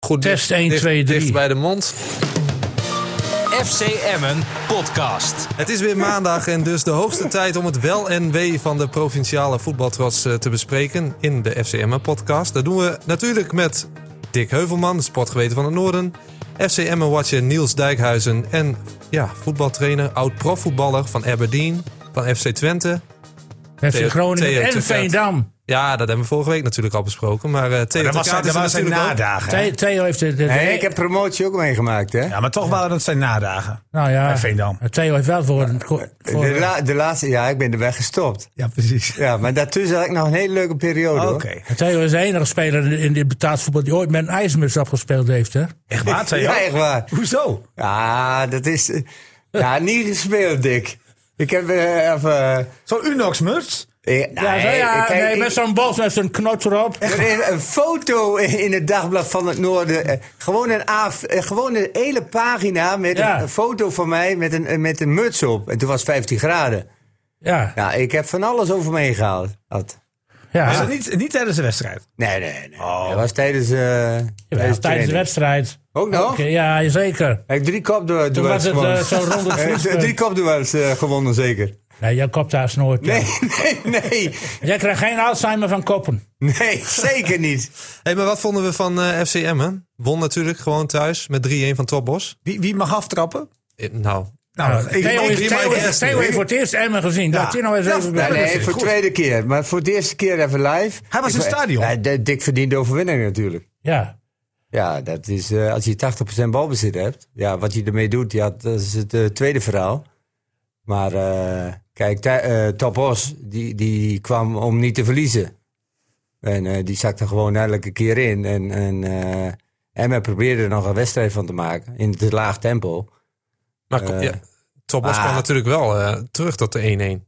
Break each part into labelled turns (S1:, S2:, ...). S1: goed
S2: Test 1, 2, 3.
S1: Dicht bij de mond.
S3: FC Emmen podcast.
S1: Het is weer maandag en dus de hoogste tijd om het wel en wee van de provinciale voetbaltrots eh, te bespreken in de FCM podcast. Dat doen we natuurlijk met Dick Heuvelman, de sportgeweten van het Noorden. FCM watcher Niels Dijkhuizen en ja, voetbaltrainer, oud profvoetballer van Aberdeen, van FC Twente.
S2: FC Groningen
S1: Theo te
S2: en
S1: vet.
S2: Veendam.
S1: Ja, dat hebben we vorige week natuurlijk al besproken. Maar eh Theo
S4: Dat was,
S1: Terkaat
S4: zijn- dat
S1: is er
S4: was zijn
S1: natuurlijk ook.
S4: nadagen. hè?
S2: Theo- Theo heeft het. het-
S4: Nee, ik heb promotie ook meegemaakt, hè?
S5: Ja, maar toch waren dat zijn nadagen.
S2: nou ja,
S5: bij Veendam.
S2: Theo heeft wel voor. een ko- voor
S4: Eh, De, la- de laatste, ja, ik ben er weg gestopt.
S5: Ja, precies.
S4: Ja, maar daartussen had ik nog een hele leuke periode.
S5: Oké.
S4: hoor.
S2: Theo is de enige speler in- in dit betaald voetbal die ooit met een ijsmuts opgespeeld heeft. Hè?
S5: Echt waar, Theo?
S4: Ja, echt waar.
S5: Hoezo?
S4: Ja, dat is. eh, Ja, niet gespeeld, Dick. Ik heb eh, even.
S5: Zo'n Unox-muts?
S4: eh,
S2: ja, zo-
S4: nee,
S2: ja,
S4: kijk,
S2: nee,
S4: ik-
S2: met zo'n bos met zo'n knot erop.
S4: er is een foto in het dagblad van het Noorden. eh, Gewoon een, A, eh, gewoon een hele pagina met
S2: Ja.
S4: een, een foto van mij met een, eh, met een muts op. En toen was het 15 graden.
S2: Ja,
S4: Ja, ik heb van alles over meegehaald. Had.
S5: Is
S2: ja.
S5: dat niet, niet tijdens de wedstrijd?
S4: Nee, nee, nee. Dat was tijdens, eh tijdens,
S2: tijdens de
S4: training.
S2: wedstrijd.
S4: Ook nog?
S2: Oké, Ja, zeker.
S4: Heb ik drie kopduels
S2: Toen was het eh,
S4: gewonnen.
S2: zo rond het
S4: Eh,
S2: vliegveld.
S4: Drie kopduels eh, gewonnen, zeker.
S2: Nee, jij kopt daar nooit.
S4: Nee, nee, nee.
S2: Jij krijgt geen Alzheimer van koppen.
S4: Nee, zeker niet.
S1: Hey, maar wat vonden we van eh FC Emmen? Won natuurlijk gewoon thuis met 3-1 van Topbos.
S5: Wie, wie mag aftrappen?
S1: Eh, nou,
S5: Nou, ik,
S2: Theo
S5: ik-
S2: is- Theo
S1: Mike
S2: is-
S1: Hester.
S2: Theo heeft voor het eerst Emmen gezien. Dat hij nou eens
S5: Ja,
S2: even
S5: ja,
S2: bij-
S4: Nee,
S5: is
S4: voor de
S5: goed.
S4: tweede keer. Maar voor de eerste keer even live.
S5: Hij was in
S4: Ik-
S5: het stadion.
S4: Ja, de- Dik verdiende overwinning natuurlijk.
S2: Ja.
S4: Ja, dat is, eh, als je 80% balbezit hebt, ja, wat je ermee doet, ja, dat is het eh, tweede verhaal. Maar eh, kijk, Tha- eh Topos, die, die kwam om niet te verliezen. En eh, die zakte gewoon elke keer in. En, en eh Emma probeerde er nog een wedstrijd van te maken in te laag tempo.
S1: maar kom-
S4: Eh.
S1: ja, Topbos
S4: Ah.
S1: kwam natuurlijk wel eh, terug tot de 1-1.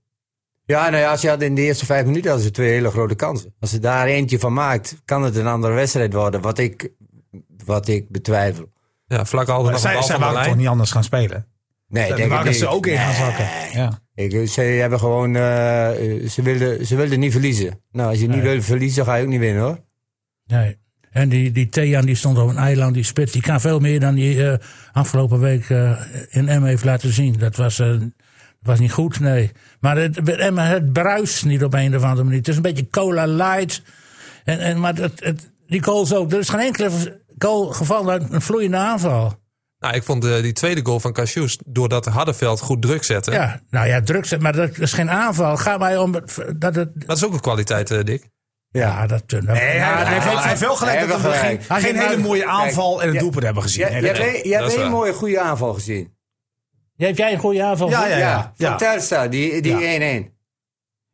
S4: Ja, nou ja, ze hadden in de eerste vijf minuten hadden ze twee hele grote kansen. Als ze daar eentje van maakt, kan het een andere wedstrijd worden, wat ik, wat ik betwijfel.
S1: Ja, vlak al nog een
S5: zij
S1: bal
S5: zij
S1: van de
S5: waren toch
S1: lijn.
S5: niet anders gaan spelen?
S4: Nee, ik
S5: Dan
S4: denk het
S5: waren
S4: niet.
S5: ze ook in gaan zakken. Ja.
S4: Ik, ze hebben gewoon, eh, eh, ze, wilden, ze wilden niet verliezen. Nou, als je niet wil verliezen, ga je ook niet winnen hoor.
S2: Nee. En die, die Thean die stond op een eiland, die spits, die kan veel meer dan die eh, afgelopen week eh, in Emmen heeft laten zien. Dat was, eh, was niet goed, nee. Maar het, bij Emmen het bruist niet op een of andere manier. Het is een beetje cola light. En, en, maar het, het, die goals ook. Er is geen enkele goal gevallen uit een vloeiende aanval.
S1: Nou, ik vond eh, die tweede goal van Cassius, doordat Hardenveld goed druk zette.
S2: Ja, nou ja, druk zet, maar dat is geen aanval. Gaat mij om het- dat het.
S1: Dat is ook een kwaliteit, eh, Dick.
S2: Ja, dat. eh, dat-
S5: Nee, hij,
S2: ja,
S5: hij heeft- hij heeft wel gelijk
S4: Hij
S5: dat
S4: heeft
S5: we
S4: wel
S5: geen,
S4: gelijk.
S2: Hij
S5: geen
S2: heeft
S5: hele
S2: wel-
S5: mooie aanval en een
S4: ja.
S5: doelpunt hebben gezien.
S4: Jij
S5: Nee,
S4: jij
S5: dat-
S4: hebt een- jij
S1: dat is
S4: hebt een
S1: waar.
S4: mooie goede aanval gezien.
S2: Heb jij een goede aanval?
S5: Ja, ja, ja.
S4: Van
S5: ja.
S4: Telstra, die 1-1. Die
S5: Ja.
S4: 1-1.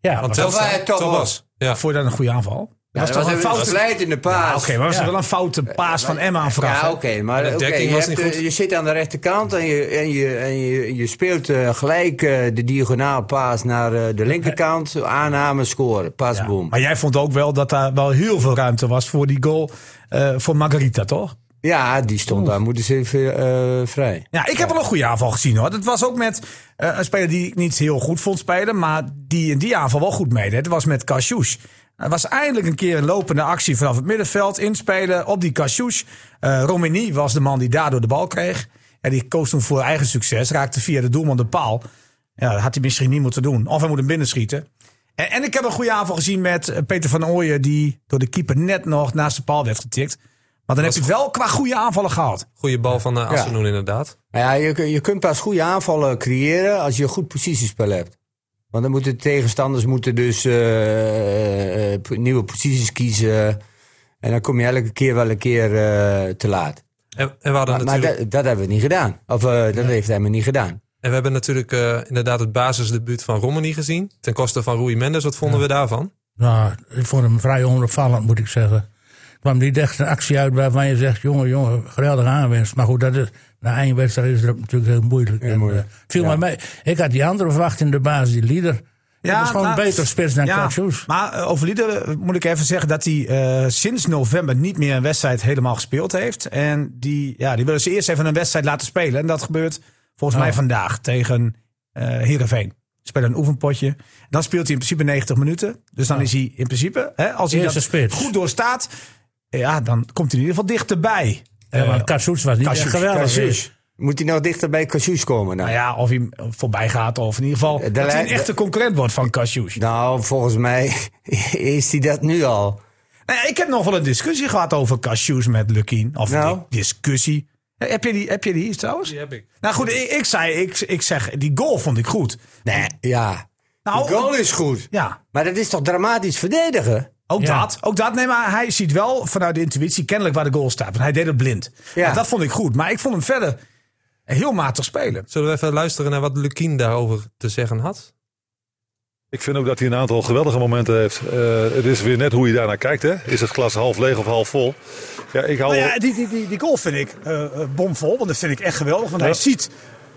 S2: ja
S1: Want
S2: maar-
S1: Telstra-
S4: was hij Topbos.
S1: Topbos. Ja.
S5: Voor dan een goede aanval.
S4: Ja,
S5: dat was toch een
S4: fout
S5: fout.
S4: slijt in de paas.
S5: Oké, maar was
S2: Ja.
S5: wel een foute paas van Emma aan vooraf,
S4: Ja,
S5: hè?
S4: oké, maar
S1: de
S4: oké,
S1: dekking
S4: je,
S1: was
S4: hebt,
S1: niet goed.
S4: eh, je zit aan de rechterkant en je, en je, en je, je speelt eh, gelijk eh, de diagonaal paas naar eh, de linkerkant. Aanname, scoren,
S5: Ja.
S4: pasboom.
S5: Maar jij vond ook wel dat daar wel heel veel ruimte was voor die goal eh, voor Margarita, toch?
S4: Ja, die stond daar, moeten ze even eh, vrij.
S5: Ja, ik heb wel een goede aanval gezien hoor. Dat was ook met eh, een speler die ik niet heel goed vond spelen, maar die in die aanval wel goed meedeed. Dat was met Cassius. Het was eindelijk een keer een lopende actie vanaf het middenveld. Inspelen op die Cassius. Eh Romini was de man die daardoor de bal kreeg. En die koos toen voor eigen succes. Raakte via de doelman de paal. Ja, dat had hij misschien niet moeten doen. Of hij moet hem binnenschieten. En, en ik heb een goede aanval gezien met eh, Peter van Ooyen. Die door de keeper net nog naast de paal werd getikt. Maar dan heb je het wel qua goede aanvallen gehad.
S1: Goede bal van eh Asenoen, inderdaad.
S4: Nou Ja, je, kun- je kunt pas goede aanvallen creëren als je een goed positiespel hebt. Want dan moeten de tegenstanders moeten dus eh, eh, p- nieuwe posities kiezen. En dan kom je elke keer wel een keer eh, te laat.
S1: En, en we hadden
S4: Maar, maar
S1: natuurlijk...
S4: Nou, dat, dat hebben we niet gedaan. Of eh, dat heeft hij maar niet gedaan.
S1: En we hebben natuurlijk eh, inderdaad het basisdebuut van Romani gezien. Ten koste van Rui Mendes. Wat vonden we daarvan?
S2: Nou, ik vond hem vrij onopvallend, moet ik zeggen. Er kwam niet echt een actie uit waarvan je zegt: jongen, jongen, geweldige aanwinst. Maar goed, dat is, na één wedstrijd is dat natuurlijk heel moeilijk. En,
S4: moeilijk,
S2: eh, viel mij mee. Ik had die andere verwacht in de basis, die leader. Ja, dat is gewoon
S5: nou,
S2: een beter spits dan
S5: ja,
S2: ja,
S5: Maar eh, over Lieder eh, moet ik even zeggen dat hij eh, sinds november niet meer een wedstrijd helemaal gespeeld heeft. En die, ja, die willen ze eerst even een wedstrijd laten spelen. En dat gebeurt
S2: Oh.
S5: volgens mij vandaag tegen eh Heerenveen. Spelen een oefenpotje. Dan speelt hij in principe 90 minuten. Dus dan is hij in principe, hè, als hij
S2: Oh. Eerste
S5: dat
S2: spits.
S5: goed doorstaat, ja, dan komt hij in ieder geval dichterbij.
S2: Ja, want Katsouts was niet echt
S5: Katsjoets,
S2: geweldig.
S5: Katsjoets.
S4: Moet hij nou dichter bij Cassius komen? Nou?
S5: Nou ja, of hij voorbij gaat, of in ieder geval
S4: De
S5: dat hij
S4: lijn-
S5: een echte concurrent wordt van Cassius.
S4: nou, volgens mij is hij dat nu al.
S5: Nou ja, ik heb nog wel een discussie gehad over Cassius met Lukien. Of
S4: Nou.
S5: een di- discussie. Eh, Heb je die, heb je die hier trouwens?
S1: Die heb ik.
S5: Nou goed, ik, ik zei, ik, ik zeg, die goal vond ik goed.
S4: Nee, ja.
S5: Nou,
S4: de goal is goed.
S5: Ja,
S4: Maar dat is toch dramatisch verdedigen?
S5: ook
S2: Ja.
S5: dat. Ook dat. Nee, maar hij ziet wel vanuit de intuïtie kennelijk waar de goal staat. Want hij deed het blind.
S4: Ja.
S5: Nou, dat vond ik goed. Maar ik vond hem verder heel matig spelen.
S1: Zullen we even luisteren naar wat Lukien daarover te zeggen had?
S6: Ik vind ook dat hij een aantal geweldige momenten heeft. Eh, het is weer net hoe je daarnaar kijkt. Hè? Is het glas half leeg of half vol? Ja, ik
S4: Oh.
S6: hou
S7: Nou ja, die, die, die, die goal vind ik eh, eh, bomvol. Want dat vind ik echt geweldig. Want hij ziet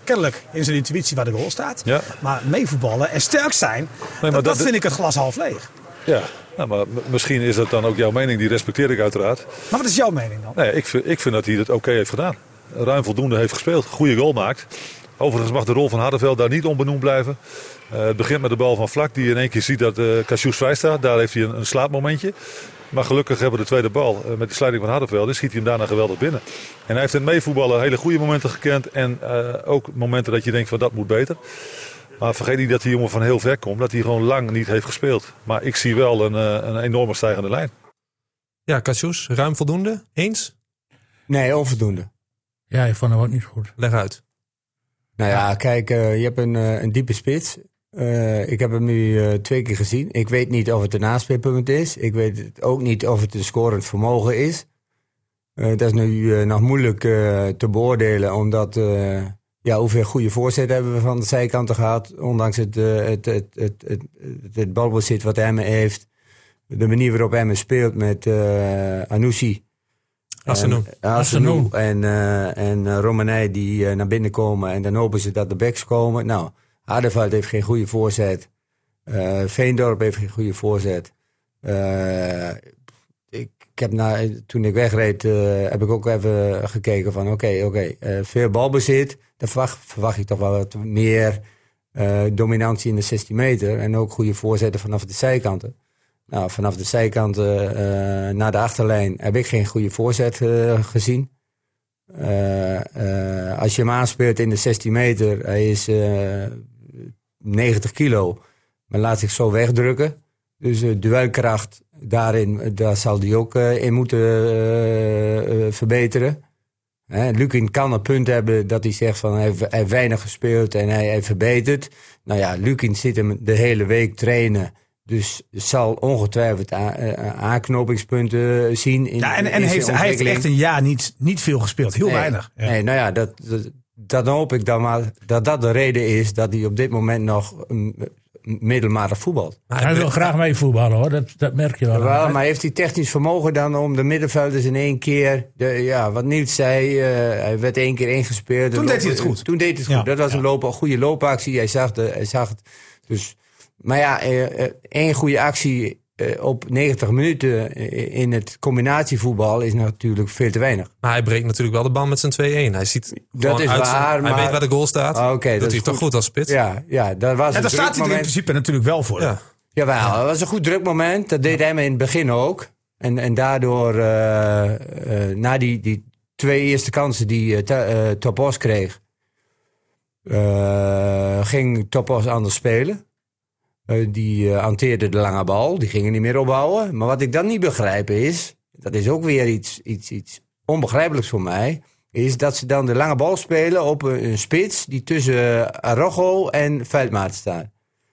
S7: kennelijk in zijn intuïtie waar de goal staat.
S6: Ja.
S7: Maar meevoetballen en sterk zijn, dat,
S6: maar
S7: dat
S6: dat-
S7: vind ik het glas half leeg.
S6: ja. Nou, maar m- misschien is dat dan ook jouw mening. Die respecteer ik uiteraard.
S7: Maar wat is jouw mening dan?
S6: Nee, ik, vind- ik vind dat hij het oké heeft gedaan. Ruim voldoende heeft gespeeld. Goede goal maakt. Overigens mag de rol van Hardenveld daar niet onbenoemd blijven. Eh, het begint met de bal van Vlak. Die in één keer ziet dat eh Cassius vrij staat. Daar heeft hij een, een slaapmomentje. Maar gelukkig hebben we de tweede bal. eh, met de sluiting van Hardenveld. Dus schiet hij hem daarna geweldig binnen. En hij heeft in het meevoetballen hele goede momenten gekend. En eh, ook momenten dat je denkt van dat moet beter. Maar vergeet niet dat die jongen van heel ver komt. Dat hij gewoon lang niet heeft gespeeld. Maar ik zie wel een, eh, een enorme stijgende lijn.
S1: Ja, Cassius, ruim voldoende. Eens?
S4: Nee, onvoldoende.
S2: Ja, ik vond hem ook niet goed.
S1: Leg uit.
S4: Nou ja, kijk, eh, je hebt een, eh, een diepe spits. Eh, ik heb hem nu eh, twee keer gezien. Ik weet niet of het een aanspeelpunt is. Ik weet het ook niet of het een scorend vermogen is. Eh, dat is nu eh, nog moeilijk eh, te beoordelen, omdat eh, ja, hoeveel goede voorzet hebben we van de zijkanten gehad. Ondanks het, eh, het, het, het, het, het, het balbezit wat Emmen heeft. De manier waarop Emmen speelt met eh Anoussi.
S1: Assenum.
S4: En, Asenoen en, eh, en eh, Romanei die eh, naar binnen komen. En dan hopen ze dat de backs komen. Nou, Aardevaart heeft geen goede voorzet. Eh, Veendorp heeft geen goede voorzet. Eh, ik, ik heb na, toen ik wegreed, eh, heb ik ook even gekeken van oké, oké. eh, veel balbezit. Dan verwacht, verwacht ik toch wel wat meer eh, dominantie in de 16 meter. En ook goede voorzetten vanaf de zijkanten. Nou, vanaf de zijkant eh, eh, naar de achterlijn heb ik geen goede voorzet eh, gezien. Eh, eh, als je hem aanspeelt in de 16 meter, hij is eh, 90 kilo, maar laat zich zo wegdrukken. Dus eh, duelkracht daarin, eh, daar zal hij ook eh, in moeten eh, eh, verbeteren. Hè, Lukin kan een punt hebben dat hij zegt van hij heeft, hij heeft weinig gespeeld en hij, hij verbetert. Nou ja, Lukin zit hem de hele week trainen. Dus zal ongetwijfeld a- eh, aanknopingspunten zien. In,
S5: Ja, en
S4: in
S5: en heeft,
S4: zijn
S5: hij heeft
S4: ontwikkeling.
S5: echt een jaar niet, niet veel gespeeld. Heel
S4: Nee.
S5: weinig.
S4: Nee, nou ja, dat, dat, dat hoop ik dan maar dat dat de reden is dat hij op dit moment nog mm, middelmatig voetbalt.
S1: Maar
S2: Hij wil graag mee voetballen hoor, dat, dat merk je wel.
S4: Wel, maar heeft hij technisch vermogen dan om de middenvelders in één keer... De, ja, wat Niels zei, eh, hij werd één keer ingespeeld.
S5: Toen
S4: De
S5: deed hij
S4: loop-
S5: het goed.
S4: Toen deed hij het
S5: Ja,
S4: goed. Dat was een, loop, een goede loopactie. Hij zag, de, hij zag het. Dus, maar ja, eh, eh, één goede actie eh, op 90 minuten eh, in het combinatievoetbal is natuurlijk veel te weinig.
S1: Maar hij breekt natuurlijk wel de band met zijn 2-1. Hij ziet gewoon
S4: is
S1: uit
S4: waar,
S1: zijn- Hij
S4: maar-
S1: weet waar de goal staat.
S4: Ah, oké,
S1: dat
S4: dat
S1: doet
S4: is
S1: hij toch
S4: goed.
S1: goed als spits.
S4: Ja, ja, daar was
S5: En
S4: een
S5: daar
S4: druk
S5: staat hij er in
S4: moment.
S5: principe natuurlijk wel voor.
S1: Ja.
S4: Jawel, dat was een goed drukmoment. Dat deed hij me in het begin ook. En, en daardoor, eh, eh, na die, die twee eerste kansen die eh, Ta- eh, Topos kreeg, eh, ging Topos anders spelen. Eh, die eh, hanteerde de lange bal, die gingen niet meer opbouwen. Maar wat ik dan niet begrijp is, dat is ook weer iets, iets, iets onbegrijpelijks voor mij, is dat ze dan de lange bal spelen op een, een spits die tussen eh, Arrojo en Veldmaat staat.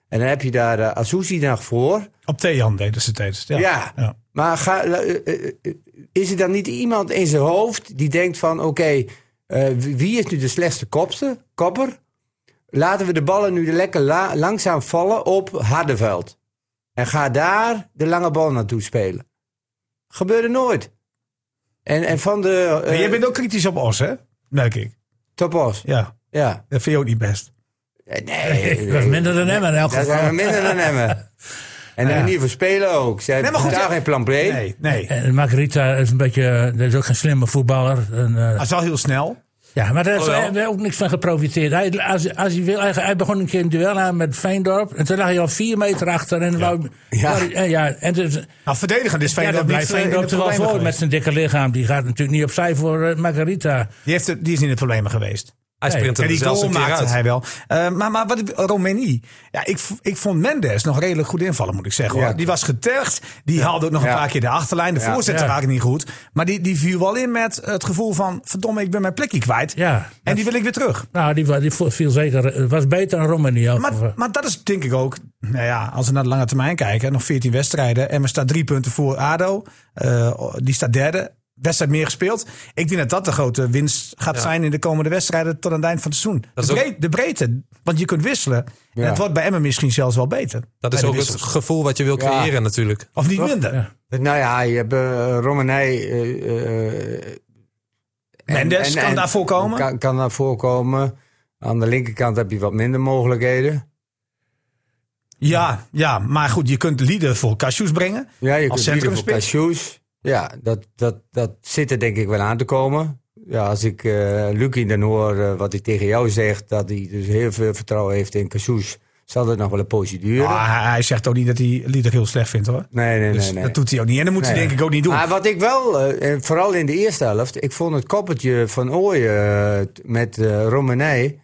S4: En dan heb je daar eh, Azuzi nog voor.
S5: Op Thean deden ze tijdens. Ja.
S4: Ja.
S5: Ja.
S4: Maar ga, eh, eh, eh, is er dan niet iemand in zijn hoofd die denkt van... oké, eh, wie- wie is nu de slechtste kopste, kopper? Laten we de ballen nu lekker la- langzaam vallen op Hardenveld. En ga daar de lange bal naartoe spelen. Gebeurde nooit. En, en van de
S5: En
S4: eh
S5: jij bent ook kritisch op Os, hè? Merk ik.
S4: Topos.
S5: Ja.
S4: Ja.
S5: Dat vind je ook niet best.
S4: Eh, Nee,
S2: Dat is minder dan hem in elk
S4: Dat
S2: geval.
S4: zijn we minder dan hem. En de manier van spelen ook. Ze hebben
S5: maar goed,
S4: daar
S5: ja.
S4: geen plan B.
S5: Nee. nee.
S2: En Margarita is een beetje, dat is ook geen slimme voetballer. En, eh,
S5: Hij is wel heel snel.
S2: Ja, maar daar heeft
S1: Alhoewel.
S2: hij ook niks van geprofiteerd. Hij, als, als hij, wil, hij, hij begon een keer een duel aan met Veendorp. En toen lag hij al vier meter achter. En wou,
S4: Ja.
S2: wou- en, ja, en dus,
S5: Nou, verdedigend is
S2: ja,
S5: Veendorp
S2: dan
S5: niet
S2: blijft
S5: eh, in de
S2: Veendorp er wel
S5: problemen
S2: voor met
S5: geweest.
S2: zijn dikke lichaam. Die gaat natuurlijk niet opzij voor eh, Margarita.
S5: Die, heeft, het- die is niet in de problemen geweest.
S1: Hij
S2: Nee.
S1: sprint
S5: En
S1: er
S5: die
S1: zelfs
S5: goal
S1: een keer
S5: maakte
S1: uit.
S5: hij wel. Eh, maar, maar wat, Romani. Ja, ik, v- ik vond Mendes nog redelijk goed invallen, moet ik zeggen.
S4: Ja.
S5: Hoor. Die was getergd. Die haalde ook nog
S4: Ja.
S5: een paar keer de achterlijn. De
S4: Ja.
S5: voorzet
S2: Ja.
S5: raakte niet goed. Maar die, die viel wel in met het gevoel van... verdomme, ik ben mijn plekje kwijt.
S2: Ja.
S5: En die wil ik weer terug.
S2: Nou, die, wa- die vo- viel zeker. eh, was beter dan Romani.
S5: Maar,
S1: eh,
S5: maar dat is denk ik ook... Nou ja, als we naar de lange termijn kijken. Nog 14 wedstrijden. En we staan drie punten voor ADO. Eh, die staat derde. Wedstrijd meer gespeeld. Ik denk dat dat de grote winst gaat zijn in de komende wedstrijden tot aan het eind van het seizoen.
S1: Dat is
S5: de,
S1: ook-
S5: breed- de breedte. Want je kunt wisselen. En
S4: Ja.
S5: het wordt bij Emmen misschien zelfs wel beter.
S1: Dat is
S5: Bij de
S1: ook het
S5: wissels.
S1: gevoel wat je wil
S4: Ja.
S1: creëren natuurlijk.
S5: Of niet minder.
S2: Ja.
S4: Nou ja, je hebt eh, Romanij. eh, eh,
S5: Mendes kan daar voorkomen.
S4: Kan, kan daar voorkomen. Aan de linkerkant heb je wat minder mogelijkheden.
S5: Ja, ja, maar goed, je kunt lieden voor Cashews brengen.
S4: Ja, je
S5: Als
S4: kunt ieder voor
S5: centrumspits.
S4: Cashews. Ja, dat, dat, dat zit er denk ik wel aan te komen. Ja, als ik eh Lucky dan hoor eh, wat hij tegen jou zegt, dat hij dus heel veel vertrouwen heeft in Cashews, zal dat nog wel een procedure.
S5: Maar hij, hij zegt ook niet dat hij lieder heel slecht vindt hoor.
S4: nee, nee,
S5: Ah, Dus
S4: nee, nee.
S5: dat doet hij ook niet. En dat moet hij
S4: Nee.
S5: denk ik ook niet doen.
S4: Maar wat ik wel, eh, en vooral in de eerste helft, ik vond het koppeltje van Ooyen eh, t- met eh Romanij,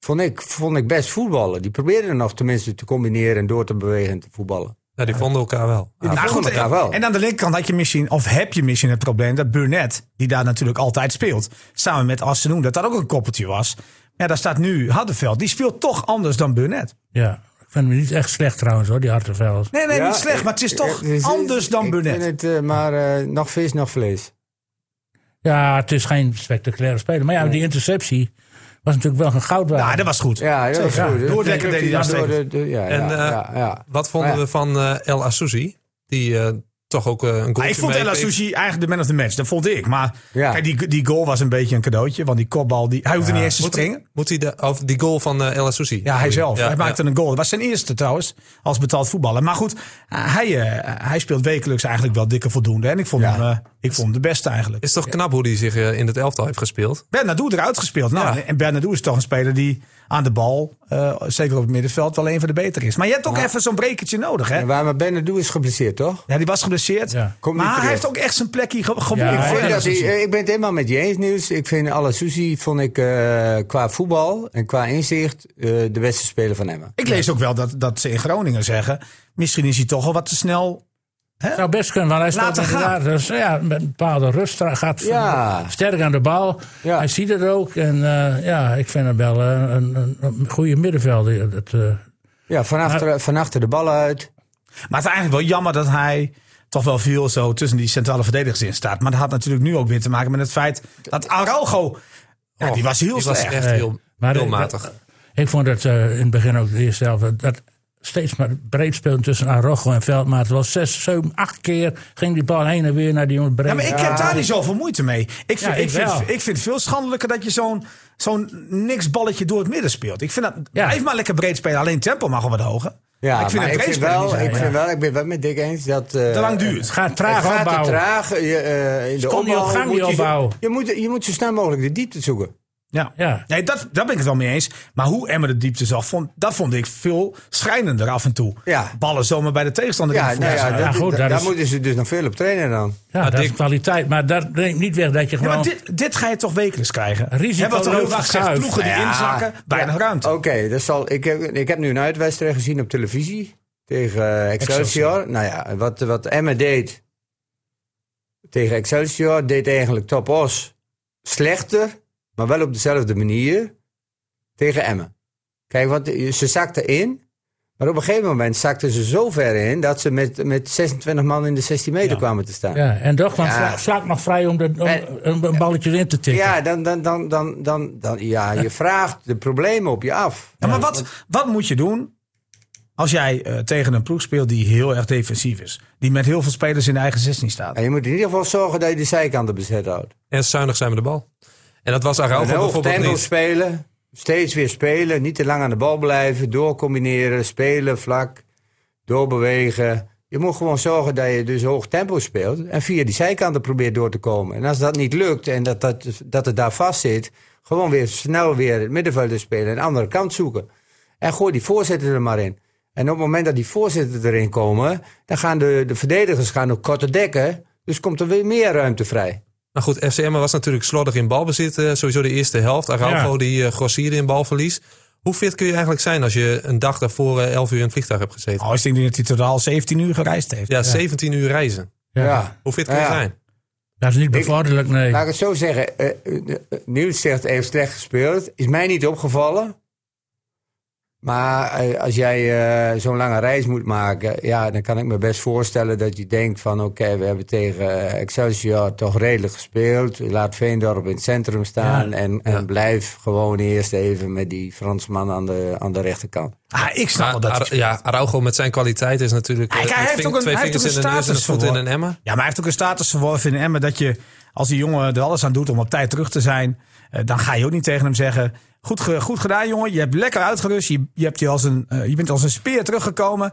S4: vond ik, vond ik best voetballen. Die probeerden nog tenminste te combineren en door te bewegen en te voetballen.
S1: Ja, die vonden elkaar wel.
S4: Ja, die
S5: Nou,
S4: vonden
S5: goed,
S4: elkaar
S5: en,
S4: wel.
S5: en aan de linkerkant had je misschien, of heb je misschien het probleem dat Burnett, die daar natuurlijk altijd speelt, samen met Assenoen, dat dat ook een koppeltje was. Ja, daar staat nu Haddenveld. Die speelt toch anders dan Burnett.
S2: ja. Ik vind hem niet echt slecht trouwens hoor, die Hartenveld.
S5: Nee, nee,
S4: Ja, eh,
S5: niet slecht,
S4: ik-
S5: maar het is toch
S4: ik- ik-
S5: anders dan
S4: ik
S5: Burnett.
S4: vind het, eh, maar eh, nog vis, nog vlees.
S2: Ja, het is geen spectaculaire speler. Maar ja, die interceptie was natuurlijk wel een goudwaarde.
S5: nou, dat was goed.
S4: Ja, dat is
S2: Zeker.
S4: goed.
S2: Ja,
S4: Dat
S5: Noordwekker deed hij
S4: Ja,
S5: dat
S4: door
S5: steeds.
S4: de- de- ja,
S1: En,
S4: ja,
S1: eh,
S4: ja, ja.
S1: Wat vonden
S4: Ah, ja.
S1: we van eh, El Assouzi? Die eh, toch ook eh, een goal
S5: Maar Ah, ik vond El Sushi eigenlijk de man of the match. Dat vond ik. Maar
S4: Ja.
S5: kijk, die, die goal was een beetje een cadeautje. Want die kopbal, die, hij hoefde niet eens te
S1: Moet,
S5: springen.
S1: hij- moet hij de, of die goal van eh El Assouzi?
S5: Ja, hij zelf.
S1: Ja,
S5: hij maakte een goal. Dat was zijn eerste trouwens, als betaald voetballer. Maar goed, eh, hij, eh, hij speelt wekelijks eigenlijk wel dikke voldoende. En ik vond, hem, eh, ik vond hem de beste eigenlijk.
S1: Is toch knap hoe hij zich eh, in het elftal heeft gespeeld?
S5: Bernardo eruit gespeeld. Nou,
S1: Ja.
S5: En Bernardo is toch een speler die aan de bal, eh, zeker op het middenveld, wel een van de betere is. Maar je hebt ook even zo'n brekertje nodig, hè?
S4: Ja, waar maar Benadou is geblesseerd, toch?
S5: Ja, die was geblesseerd.
S2: Ja.
S4: Komt niet
S5: Maar hij
S4: terug.
S5: heeft ook echt zijn plekje ge-
S2: Ja,
S5: gewonnen.
S2: hij
S4: Ik, vind
S2: Ja,
S4: dat
S2: dat is
S4: hij- eh, ik ben het helemaal met je eens, Niels. Ik vind Alla Susi vond ik, eh, qua voetbal en qua inzicht eh, de beste speler van Emmen.
S5: Ik lees ook wel dat, dat ze in Groningen zeggen... misschien is hij toch al wat te snel.
S2: zou best kunnen, want Nou, hij staat
S5: Laten gaan.
S2: inderdaad dus, ja, met een bepaalde rust. Hij gaat
S4: Ja.
S2: sterk aan de bal.
S4: Ja.
S2: Hij ziet het ook. En eh, ja, ik vind hem wel eh, een, een, een goede middenvelder. Dat, eh,
S4: Ja, van achter, van achter de bal uit.
S5: Maar het is eigenlijk wel jammer dat hij toch wel veel zo tussen die centrale verdedigers in staat. Maar dat had natuurlijk nu ook weer te maken met het feit dat Araujo... Ja,
S4: Oh,
S5: die was heel
S1: Oh, Die was
S5: slecht.
S1: echt
S2: Nee.
S1: heel,
S2: Maar
S1: heel
S2: dat-
S1: matig.
S2: dat- ik vond het eh, in het begin ook de eerste helft. dat- Dat steeds maar breed speelde tussen Arrojo en Veldmaat. Wel zes, zeven, acht keer ging die bal heen en weer naar die jongen breed.
S5: Ja, maar ik heb daar niet zoveel moeite mee. Ik vind,
S2: Ja,
S5: ik
S2: ik
S5: vind,
S2: wel.
S5: ik vind het veel schandelijker dat je zo'n zo'n niks balletje door het midden speelt. Ik vind dat,
S2: Ja.
S5: blijf maar lekker breed spelen. Alleen tempo mag wel wat hoger.
S4: Ja,
S5: Maar
S4: ik vind,
S5: het
S4: ik
S5: breed
S4: vind,
S5: spelen niet
S4: wel,
S5: zo
S4: ik
S5: erg.
S4: vind wel, ik ben wel met Dick eens dat... eh,
S5: Te lang duurt.
S2: Het gaat traag
S4: het gaat te
S2: opbouwen.
S4: traag. Je, eh, in de
S2: Kom die
S4: opbouw
S2: gang, die
S4: moet je,
S2: opbouw.
S4: Je, moet, je moet zo snel mogelijk de diepte zoeken.
S5: Ja.
S2: Ja.
S5: Nee, dat, daar ben ik het wel mee eens. Maar hoe Emmer de diepte zag, vond, dat vond ik veel schrijnender af en toe.
S4: Ja.
S5: Ballen zomaar bij de tegenstander.
S4: Ja,
S5: in de
S4: nou ja,
S5: voeten.
S4: dat-
S2: goed,
S4: da-
S2: daar
S4: daar
S2: is-
S4: moeten ze dus nog veel op trainen dan.
S2: Ja, dat is kwaliteit. Maar dat neemt niet weg dat je
S5: Ja,
S2: gewoon...
S5: maar dit, dit ga je toch wekelijks krijgen?
S2: Risicoloos
S5: Hebben we toch heel vaak gezegd,
S2: geschuift.
S5: ploegen die
S4: Ja.
S5: inzakken, bijna ruimte.
S4: Oké, dat zal- ik, heb, ik heb nu een uitwedstrijd gezien op televisie tegen eh, Excelsior. Nou ja, wat, wat Emmen deed tegen Excelsior, deed eigenlijk Top Os slechter, maar wel op dezelfde manier tegen Emmen. Kijk, want ze zakten in, maar op een gegeven moment zakten ze zo ver in dat ze met, met 26 man in de 16 meter kwamen te staan.
S2: Ja, en toch kwam
S4: Ja.
S2: Vla- Vlaak nog vrij om, de, om
S4: En-
S2: een, een balletje in te tikken.
S4: Ja, dan, dan, dan, dan, dan, dan, ja, je vraagt de problemen op je af.
S5: Ja, maar wat, wat moet je doen als jij eh, tegen een ploeg speelt die heel erg defensief is? Die met heel veel spelers in de eigen 16 staat.
S4: En je moet in ieder geval zorgen dat je de zijkanten bezet houdt.
S1: En zuinig zijn met de bal. En dat was
S4: En
S1: Araujo
S4: hoog
S1: bijvoorbeeld
S4: tempo
S1: niet.
S4: spelen, steeds weer spelen, niet te lang aan de bal blijven, doorcombineren, spelen vlak, doorbewegen. Je moet gewoon zorgen dat je dus hoog tempo speelt en via die zijkanten probeert door te komen. En als dat niet lukt en dat, dat, dat het daar vast zit, Gewoon weer snel weer het middenveld spelen. Een andere kant zoeken. En gooi die voorzitter er maar in. En op het moment dat die voorzitter erin komen, dan gaan de, de verdedigers gaan ook korter dekken. Dus komt er weer meer ruimte vrij.
S1: Maar Nou goed, FCM was natuurlijk slordig in balbezit. eh, Sowieso de eerste helft. Araujo
S2: Ja.
S1: die eh, grossierde in balverlies. Hoe fit kun je eigenlijk zijn als je een dag daarvoor eh, 11 uur in het vliegtuig hebt gezeten?
S5: Oh, ik denk dat hij totaal 17 uur gereisd heeft.
S1: ja, 17 uur reizen.
S2: Ja.
S4: Ja.
S1: Hoe fit kun je
S4: Ja.
S1: zijn?
S2: Dat is niet bevorderlijk, nee.
S4: Laat ik het zo zeggen. eh, eh, eh, Niels zegt hij heeft slecht gespeeld. Is mij niet opgevallen. Maar eh, als jij eh, zo'n lange reis moet maken, ja, dan kan ik me best voorstellen dat je denkt van oké, we hebben tegen eh, Excelsior toch redelijk gespeeld. Laat Veendorp in het centrum staan
S2: Ja.
S4: en, en blijf gewoon eerst even met die Fransman aan de, aan de rechterkant.
S5: Ah, ik snap wel
S1: Maar
S5: dat hij
S1: Nou, Ara- ja, Araujo met zijn kwaliteit is natuurlijk... eh,
S5: Hij- hij
S1: met
S5: heeft
S1: ving-
S5: ook een-
S1: twee
S5: hij heeft
S1: vingers in
S5: ook
S1: de
S5: een
S1: neus en een
S5: status
S1: voet in
S5: verworven.
S1: een emmer.
S5: Ja, maar hij heeft ook een status verworven in Emmen dat je, als die jongen er alles aan doet om op tijd terug te zijn, eh, dan ga je ook niet tegen hem zeggen: goed, ge- goed gedaan, jongen, je hebt lekker uitgerust, je, je, hebt je, als een, eh, je bent als een speer teruggekomen,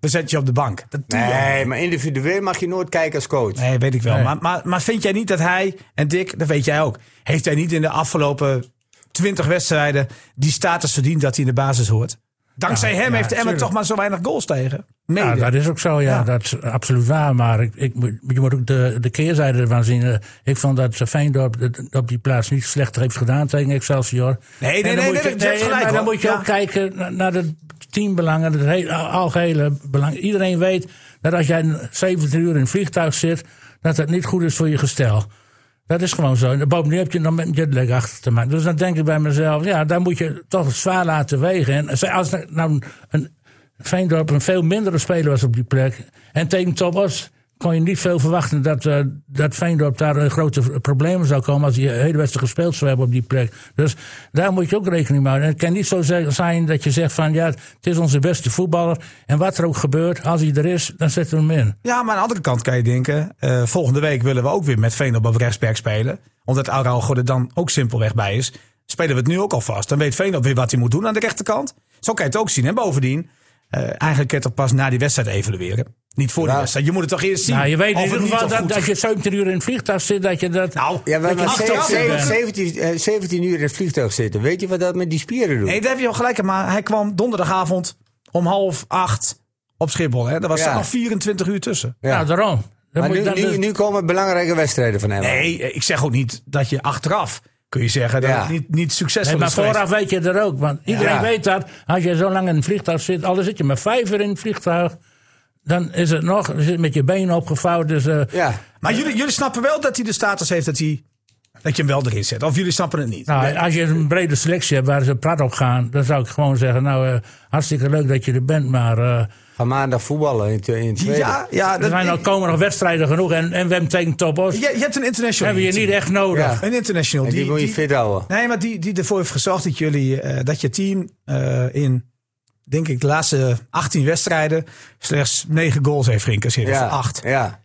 S5: we zetten je op de bank. Dat doe je ook
S4: Nee,
S5: niet.
S4: maar individueel mag je nooit kijken als coach.
S5: Nee, weet ik wel.
S2: Nee.
S5: Maar, maar, maar vind jij niet dat hij, en Dick, dat weet jij ook, heeft hij niet in de afgelopen 20 wedstrijden die status verdiend dat hij in de basis hoort? Dankzij
S2: Ja,
S5: hem
S2: ja,
S5: heeft Emmen
S2: tuurlijk.
S5: toch maar zo weinig goals tegen. Mede.
S2: Ja, dat is ook zo, ja.
S5: Ja.
S2: Dat is absoluut waar. Maar ik, ik, moet- je moet ook de, de keerzijde ervan zien. Eh, Ik vond dat Feyenoord het op die plaats niet slechter heeft gedaan tegen Excelsior.
S5: Nee, nee,
S2: En dan
S5: nee,
S2: moet
S5: nee,
S2: je,
S5: je hebt gelijk,
S2: maar dan
S5: hoor.
S2: moet je
S5: Ja.
S2: ook kijken na- naar de teambelangen, het hele, algehele belang. Iedereen weet dat als jij 17 uur in het vliegtuig zit, dat dat niet goed is voor je gestel. Dat is gewoon zo. En bovendien heb je nog met een jetlag achter te maken. Dus dan denk ik bij mezelf, ja, dan moet je toch zwaar laten wegen. En als- als er nou een Veendorp een veel mindere speler was op die plek. En tegen Top Os kon je niet veel verwachten dat, eh, dat Veendorp daar eh, grote problemen zou komen. als hij de hele wedstrijd gespeeld zou hebben op die plek. Dus daar moet je ook rekening mee houden. En het kan niet zo ze- zijn dat je zegt van ja, het is onze beste voetballer. En wat er ook gebeurt, als hij er is, dan zetten we hem in.
S5: Ja, maar aan de andere kant kan je denken... eh, volgende week willen we ook weer met Veendorp op rechtsback spelen. Omdat Araujo er dan ook simpelweg bij is. Spelen we het nu ook al vast. Dan weet Veendorp weer wat hij moet doen aan de rechterkant. Zo kan je het ook zien. En bovendien, eh, eigenlijk kan je het toch pas na die wedstrijd evalueren. Niet voor die
S4: Ja.
S5: wedstrijd. Je moet het toch eerst zien.
S2: Nou, je weet
S5: of
S2: in ieder
S5: het niet
S2: geval
S5: of
S2: dat,
S5: goed
S2: dat
S5: is.
S2: je 17 uur in het vliegtuig zit, dat je dat.
S5: Nou,
S4: Ja, maar,
S5: dat je
S4: maar
S5: achteraf
S4: zeven-
S5: bent.
S4: zeven- 17, eh, 17 uur in het vliegtuig zitten. Weet je wat dat met die spieren doet?
S5: Nee, daar heb je wel gelijk in. Maar hij kwam donderdagavond om half acht op Schiphol. Hè. Daar was
S4: Ja.
S5: nog 24 uur tussen.
S4: ja.
S2: Nou, daarom. Dan
S4: Maar
S2: moet je
S4: nu,
S2: dan
S4: nu,
S2: dus-
S4: nu komen belangrijke wedstrijden van hem.
S5: Nee, eh, ik zeg ook niet dat je achteraf... kun je zeggen dat
S4: Ja.
S5: het niet, niet
S2: Nee,
S5: succesvol
S2: maar
S5: is geweest.
S2: vooraf weet je er ook. Want iedereen
S4: Ja.
S2: weet dat. Als je zo lang in een vliegtuig zit, al zit je maar vijf uur in het vliegtuig. Dan is het nog, je zit met je benen opgevouwen. Dus, eh,
S4: Ja.
S5: Maar jullie, jullie snappen wel dat hij de status heeft dat, hij, dat je hem wel erin zet. Of jullie snappen het niet.
S2: nou, als je een brede selectie hebt waar ze prat op gaan, dan zou ik gewoon zeggen: Nou, eh, hartstikke leuk dat je er bent, maar eh,
S4: Ga maandag voetballen in, twe- in het tweede.
S5: ja, ja
S2: er
S5: dat,
S2: zijn al komen nog wedstrijden genoeg. En, en we hebben tegen Top Os.
S5: je, je hebt een international.
S2: hebben we je niet echt nodig.
S4: Ja.
S5: Een international.
S4: En die, moet je fit houden.
S5: nee, maar die, die ervoor heeft gezorgd dat, jullie, eh, dat je team eh, in, denk ik, de laatste 18 wedstrijden slechts 9 goals heeft geïncasseerd.
S4: Ja.
S5: Of 8.
S4: Ja.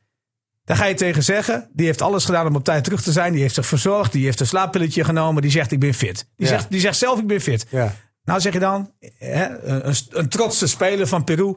S5: Daar ga je tegen zeggen. Die heeft alles gedaan om op tijd terug te zijn. Die heeft zich verzorgd. Die heeft een slaappilletje genomen. Die zegt ik ben fit. Die,
S4: Ja.
S5: zegt, die zegt zelf ik ben fit.
S4: Ja.
S5: Nou zeg je dan, hè, een, een trotse speler van Peru.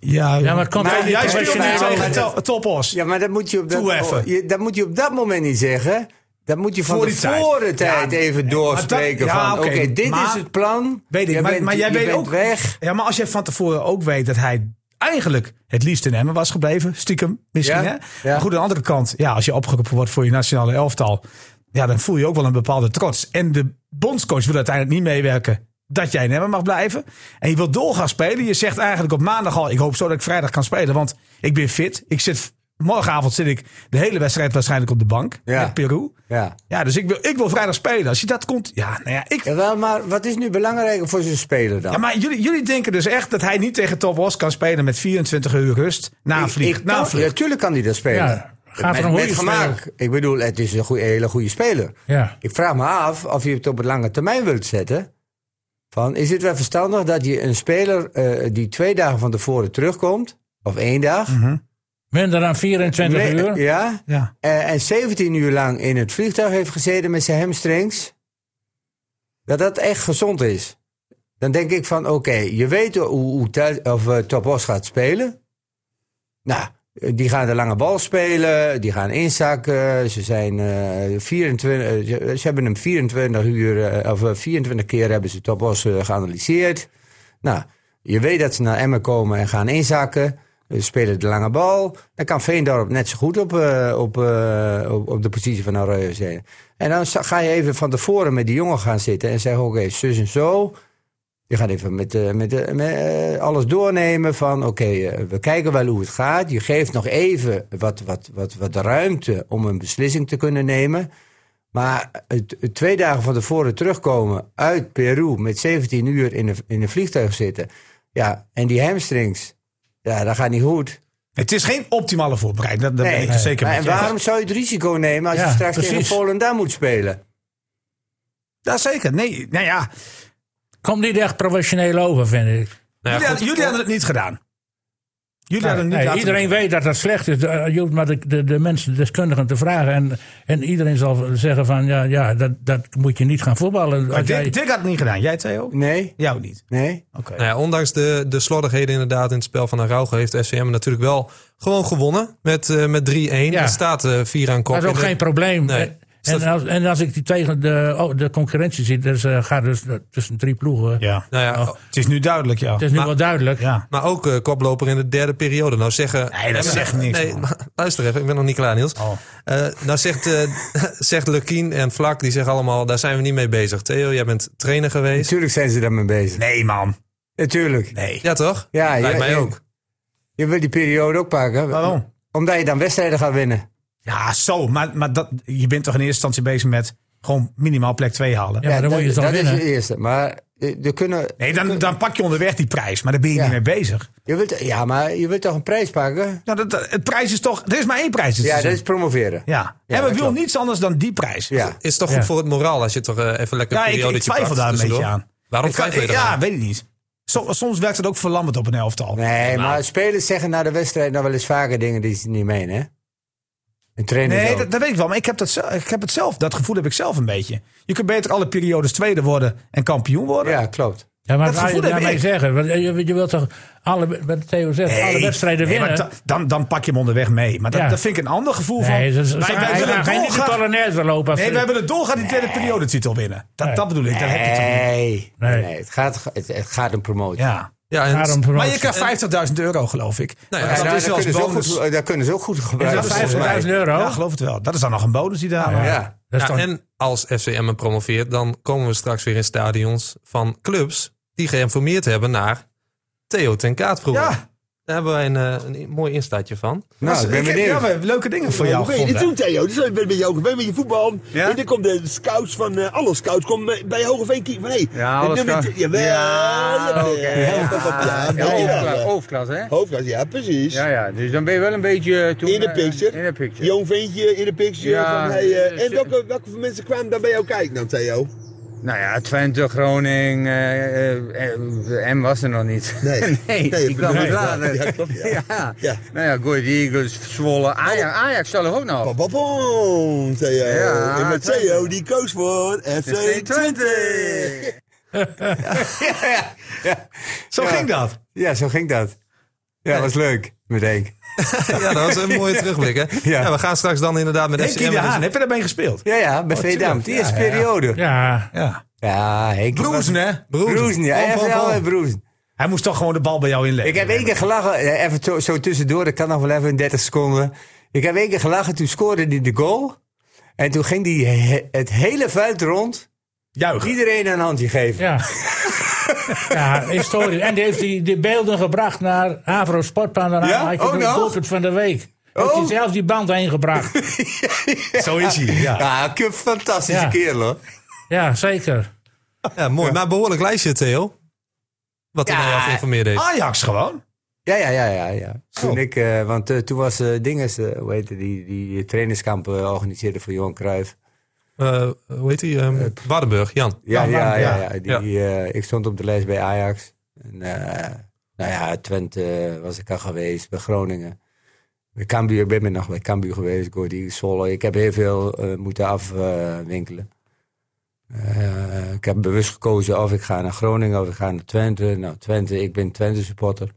S5: Ja,
S2: Ja, maar het komt
S5: jij-
S2: ook niet
S5: jij speelt
S2: professioneel.
S5: niet
S2: Maar
S5: tegen
S2: dat-
S5: to- topos.
S4: ja, maar dat moet, je op dat, Oh,
S5: Toe even.
S4: je- dat moet je op dat moment niet zeggen. Dat moet je van
S5: Voor
S4: voor
S5: die
S4: de
S5: tijd.
S4: voren tijd
S5: Ja,
S4: even doorspreken.
S5: ja,
S4: van
S5: oké,
S4: oké, dit
S5: maar-
S4: is het plan.
S5: Weet ik,
S4: Jij
S5: maar,
S4: bent-
S5: maar jij
S4: je
S5: weet
S4: bent
S5: ook...
S4: weg.
S5: Ja, maar als jij van tevoren ook weet dat hij eigenlijk het liefst in Emmen was gebleven. Stiekem misschien,
S4: Ja,
S5: hè?
S4: ja.
S5: Maar goed, aan de andere kant. Ja, als je opgeroepen wordt voor je nationale elftal. Ja, dan voel je ook wel een bepaalde trots. En de bondscoach wil uiteindelijk niet meewerken dat jij in Emmen mag blijven. En je wilt doorgaan spelen. Je zegt eigenlijk op maandag al... ik hoop zo dat ik vrijdag kan spelen, want ik ben fit. Ik zit... Morgenavond zit ik de hele wedstrijd waarschijnlijk op de bank.
S4: Ja.
S5: Met Peru.
S4: Ja.
S5: Ja, dus ik wil, ik wil vrijdag spelen. Als je dat komt... Ja, nou ja, ik,
S4: Jawel, maar wat is nu belangrijker voor zo'n speler dan?
S5: ja, maar jullie, jullie denken dus echt dat hij niet tegen Top Os kan spelen met 24 uur rust na een vlieg.
S4: Ik-
S5: na een
S4: kan-
S5: vlieg.
S4: ja, tuurlijk kan hij dat spelen.
S2: Ja, gaat er
S4: met,
S2: een goede
S4: met gemaak. Ik bedoel, het is een goeie- hele goede speler.
S2: Ja.
S4: Ik vraag me af of je het op een lange termijn wilt zetten. Van, is het wel verstandig dat je een speler eh, die twee dagen van tevoren terugkomt, of één dag,
S2: Minder dan 24
S4: Nee,
S2: uur.
S4: ja,
S5: Ja.
S4: eh, en 17 uur lang in het vliegtuig heeft gezeten met zijn hamstrings, dat dat echt gezond is. Dan denk ik van, oké, je weet hoe, hoe Tel- of, eh, Top Os gaat spelen. Nou, eh, die gaan de lange bal spelen, die gaan inzakken. Ze, zijn, eh, 24, eh, ze, ze hebben hem 24, uur, eh, of eh, 24 keer hebben ze Topos eh, geanalyseerd. Nou, je weet dat ze naar Emmen komen en gaan inzakken. Ze spelen de lange bal. Dan kan Veendorp net zo goed op, eh, op, eh, op, op de positie van Arroyo zijn. En dan za- ga je even van tevoren met die jongen gaan zitten en zeggen: Oké, zus en zo. Je gaat even met, eh, met, eh, met, eh, alles doornemen van oké, eh, we kijken wel hoe het gaat. Je geeft nog even wat, wat, wat, wat ruimte om een beslissing te kunnen nemen. Maar het, het twee dagen van tevoren terugkomen uit Peru met 17 uur in een, in een vliegtuig zitten. Ja, en die hamstrings, ja, dat gaat niet goed.
S5: Het is geen optimale voorbereiding. Dat, dat ben ik er zeker
S4: maar
S5: met
S4: en
S5: je eens.
S4: waarom zou je het risico nemen als
S2: Ja,
S4: je straks tegen
S2: precies.
S4: Volendam moet spelen?
S5: Ja, zeker. Nee, nou ja.
S2: Komt niet echt professioneel over, vind ik.
S1: Nou
S5: jullie,
S1: ja,
S5: hadden,
S1: goed.
S5: jullie hadden het niet gedaan. Jullie hadden het niet
S2: Nee,
S5: laten
S2: iedereen weet dat dat slecht is. De- eh, Je hoeft maar de, de, de mensen, de deskundigen te vragen. En, en iedereen zal zeggen van, ja, ja dat, dat moet je niet gaan voetballen.
S5: Maar
S2: Als jij-
S5: Dick, Dick had het niet gedaan. Jij twee ook?
S4: Nee,
S5: Jou niet.
S4: nee.
S5: Oké.
S1: Nou ja, ondanks de, de slordigheden inderdaad in het spel van Araujo... heeft FCM natuurlijk wel gewoon gewonnen met, eh, met 3-1.
S2: Ja.
S1: Er staat eh, vier aan kop.
S2: Dat is ook
S1: En de-
S2: geen probleem.
S1: Nee.
S2: En- En als, en als ik die tegen de, oh, de concurrentie zie, dus eh, gaat dus eh, tussen drie ploegen.
S5: Ja.
S1: Nou ja,
S5: Het is nu duidelijk, ja.
S2: Het is nu wel duidelijk.
S5: ja.
S1: Maar ook eh, koploper in de derde periode. Nou zeggen...
S5: Nee, dat zegt niks,
S1: Nee,
S5: man.
S1: maar luister even, ik ben nog niet klaar, Niels.
S5: Oh.
S1: Eh, nou zegt, eh zegt Lukien en Vlak, die zeggen allemaal... daar zijn we niet mee bezig. Theo, jij bent trainer geweest.
S4: Natuurlijk zijn ze daarmee bezig.
S5: Nee, man.
S4: Natuurlijk.
S5: Nee.
S1: Ja, toch?
S4: Ja,
S1: Lijkt
S4: ja,
S1: mij
S4: ja.
S1: ook.
S4: Je wil die periode ook pakken.
S5: Waarom?
S4: Omdat je dan wedstrijden gaat winnen.
S5: Ja, zo. Maar, maar dat, je bent toch in eerste instantie bezig met gewoon minimaal plek 2 halen?
S2: Ja, maar dan moet je het
S4: dat,
S2: dan
S4: dat is
S2: winnen.
S4: het eerste. Maar eh, er kunnen,
S5: Nee, dan, dan pak je onderweg die prijs. Maar daar ben je
S4: Ja.
S5: niet mee bezig.
S4: je wilt, ja, maar je wilt toch een prijs pakken?
S5: Nou, dat, dat- het prijs is toch... Er is maar één prijs. dit
S4: Ja,
S5: seizoen.
S4: dat is promoveren.
S5: ja.
S4: Ja,
S5: en
S4: dat
S5: we willen
S4: klopt.
S5: niets anders dan die prijs.
S4: Ja.
S1: Is toch goed
S2: Ja.
S1: voor het moraal als je toch eh, even lekker
S5: Ja, ik-
S1: periode
S5: ik twijfel daar een beetje aan.
S1: Waarom
S5: Ik kan-
S1: twijfel je daar
S5: ja, weet ik niet. Soms, soms werkt het ook verlammend op een elftal.
S4: Nee, maar spelers zeggen na de wedstrijd nou wel eens vaker dingen die ze niet menen, hè? Een trainer
S5: Nee,
S4: ook.
S5: dat, dat weet ik wel. Maar ik heb, dat, zel- ik heb het zelf. Dat gevoel heb ik zelf een beetje. Je kunt beter alle periodes tweede worden en kampioen worden.
S4: Ja, klopt.
S2: Ja, maar
S5: Dat
S2: waar je
S5: gevoel heb
S2: daarmee
S5: ik.
S2: zeggen? Want eh, Je, je wilt toch alle, wat Theo zegt, alle wedstrijden
S5: nee, maar
S2: winnen?
S5: da- dan, dan pak je hem onderweg mee. Maar dat,
S2: Ja.
S5: dat vind ik een ander gevoel van...
S2: nee, ze, ze,
S5: wij,
S2: ze
S5: wij
S2: gaan- ze
S5: willen
S2: gaan geen die
S5: dolgraag-
S2: Polonaise lopen.
S5: nee, wij willen dolgaan die tweede periodetitel winnen. Dat, dat bedoel ik. Dat heb je toch niet.
S4: Nee,
S2: Nee.
S4: nee. het, gaat, het, het gaat om promotie.
S5: Ja.
S1: Ja, en
S2: Daarom
S5: Maar
S2: promotie.
S5: je krijgt 50.000 euro, geloof ik.
S1: Nou ja,
S5: Want
S4: Ja,
S5: dat
S4: nou,
S5: is wel eens
S4: daar, kunnen ze ook
S5: bonus.
S4: goed, daar kunnen ze ook goed gebruiken.
S5: dat is
S4: volgens mij.
S2: 50.000 euro? Nou
S5: Ja, geloof het wel. Dat is dan nog een bonus die daar...
S4: Ja.
S2: Dat is
S1: Ja,
S2: toch-
S1: en als FCM promoveert, dan komen we straks weer in stadions van clubs die geïnformeerd hebben naar Theo ten Kaat vroeger.
S5: Ja.
S1: Daar hebben wij een, eh, een mooi instaatje van.
S4: Nou, ik ben
S5: heb- Ja, we
S4: benieuwd.
S5: hebben leuke dingen voor jou
S8: Hoe ben je dit
S5: gevonden.
S8: doen, Theo? Dus ik ben met jou gewend met je voetbal.
S5: Ja?
S8: En dan komt de scouts van eh alle scouts komt bij- bij Hogeveen Kiek van hé.
S9: Ja, alle scouts.
S8: Jawel.
S9: Ja,
S8: jawel.
S9: oké, ja.
S8: Ja,
S9: Ja,
S8: dat is
S9: overklas,
S8: wel, eh,
S9: overklas, hè?
S8: Hoofdklasse, ja, precies.
S9: Ja, ja, dus dan ben je wel een beetje eh, toen,
S8: In de
S9: eh,
S8: picture.
S9: in de picture.
S8: Jong ventje in de picture.
S9: Ja,
S8: van, hey, eh,
S9: eh,
S8: en welke, welke van mensen kwamen daar bij jou kijken dan, Theo?
S9: Nou ja, Twente, Groningen, eh, eh, M was er nog niet.
S8: Nee.
S9: nee,
S8: Nee,
S9: die kwam
S8: nee.
S9: wat later.
S8: Ja, klopt, ja.
S9: ja.
S8: Ja.
S9: Nou ja, Goed Eagles, Zwolle, Ajax, Ajax zal er ook nog.
S8: Papapom, Theo.
S9: Ja,
S8: en met
S9: Twente.
S8: Theo, die koos voor FC Twente.
S5: Zo ging dat.
S4: Ja, zo ging dat. Ja, was leuk, meteen.
S1: ja, dat was een mooie terugblik. Hè? Ja. we gaan straks dan inderdaad met
S5: Henkie
S1: FCM.
S5: de
S1: dus-
S5: Haan, heb je daarmee gespeeld?
S4: Ja, ja, bij Veendam.
S5: Oh, tuurlijk.
S4: Die
S5: Ja,
S4: eerste
S5: ja, ja.
S4: periode.
S2: ja,
S5: Ja.
S4: Ja, ik
S5: Broezen, hè?
S4: Broezen. ja.
S5: Pom, pom,
S4: FL
S5: pom.
S4: en Broezen.
S5: Hij moest toch gewoon de bal bij jou inleggen.
S4: Ik heb één keer gelachen, eh, even zo, zo tussendoor, dat kan nog wel even in 30 seconden. Ik heb één keer gelachen, toen scoorde hij de goal. En toen ging hij he- het hele veld rond,
S5: Juichen.
S4: iedereen een handje geven.
S2: ja. ja, historisch. En die heeft die, die beelden gebracht naar Avro Sportplan. Daarna
S4: Ja?
S2: had je
S4: Oh,
S2: de
S4: nou.
S2: doelpunt van de week. Heeft hij
S4: Oh.
S2: zelf die band heen gebracht.
S5: Zo is hij. Ja.
S4: Ja, ik heb Ah, een fantastische
S2: Ja.
S4: kerel hoor.
S2: ja, zeker.
S1: Ja, mooi. Maar behoorlijk lijstje, Theo. Wat hij
S4: Ja. Oh.
S1: nou jou geïnformeerd heeft.
S5: Ajax gewoon.
S4: Ja, ja, ja, ja. ja. Toen
S5: Oh.
S4: ik, eh, want eh, toen was eh Dinges, eh, hoe heet het, die, die trainerskamp eh, organiseerde voor Johan Cruijff.
S1: Eh, hoe heet hij? Waardenburg, Jan.
S4: Ja, ja, ja. ja,
S1: Ja.
S4: Die, eh, ik stond op de lijst bij Ajax. En, eh, nou ja, Twente was ik al geweest, bij Groningen. Bij Cambuur, ik ben ik nog bij Cambuur geweest, Go Eagles, Zwolle. Ik heb heel veel eh, moeten afwinkelen. Eh, ik heb bewust gekozen of ik ga naar Groningen of ik ga naar Twente. Nou, Twente, ik ben Twente supporter.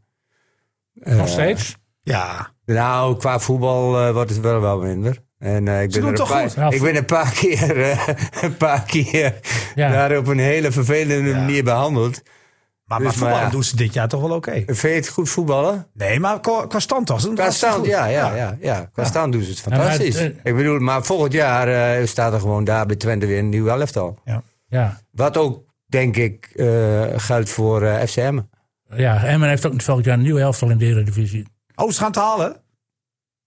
S2: Nog steeds.
S5: Ja.
S4: Nou, qua voetbal eh, wordt het wel wel minder. En, eh, ik ben
S5: doen het
S4: er een
S5: toch
S4: paar,
S5: goed?
S2: Ja,
S4: Ik
S2: vo-
S4: ben een paar keer, eh, een paar keer
S2: Ja.
S4: daar op een hele vervelende manier behandeld.
S5: Maar, maar
S4: Dus, maar
S5: voetbal
S4: ja.
S5: doen ze dit jaar toch wel oké.
S4: Vind je het goed voetballen?
S5: Nee, maar qua, qua standtas doen ze
S4: Qua
S5: het hartstikke
S4: staan,
S5: goed.
S4: ja, ja, ja, ja. Qua staan doen ze het
S2: maar het,
S4: fantastisch.
S2: eh,
S4: ik bedoel, maar volgend jaar eh, staat er gewoon daar bij Twente weer een nieuw elftal.
S2: Ja.
S4: Wat ook, denk ik, eh, geldt voor eh FCM.
S2: ja, Emmen heeft ook in het volgend jaar een nieuwe helft al in de Eredivisie.
S5: Oh, ze gaan het halen?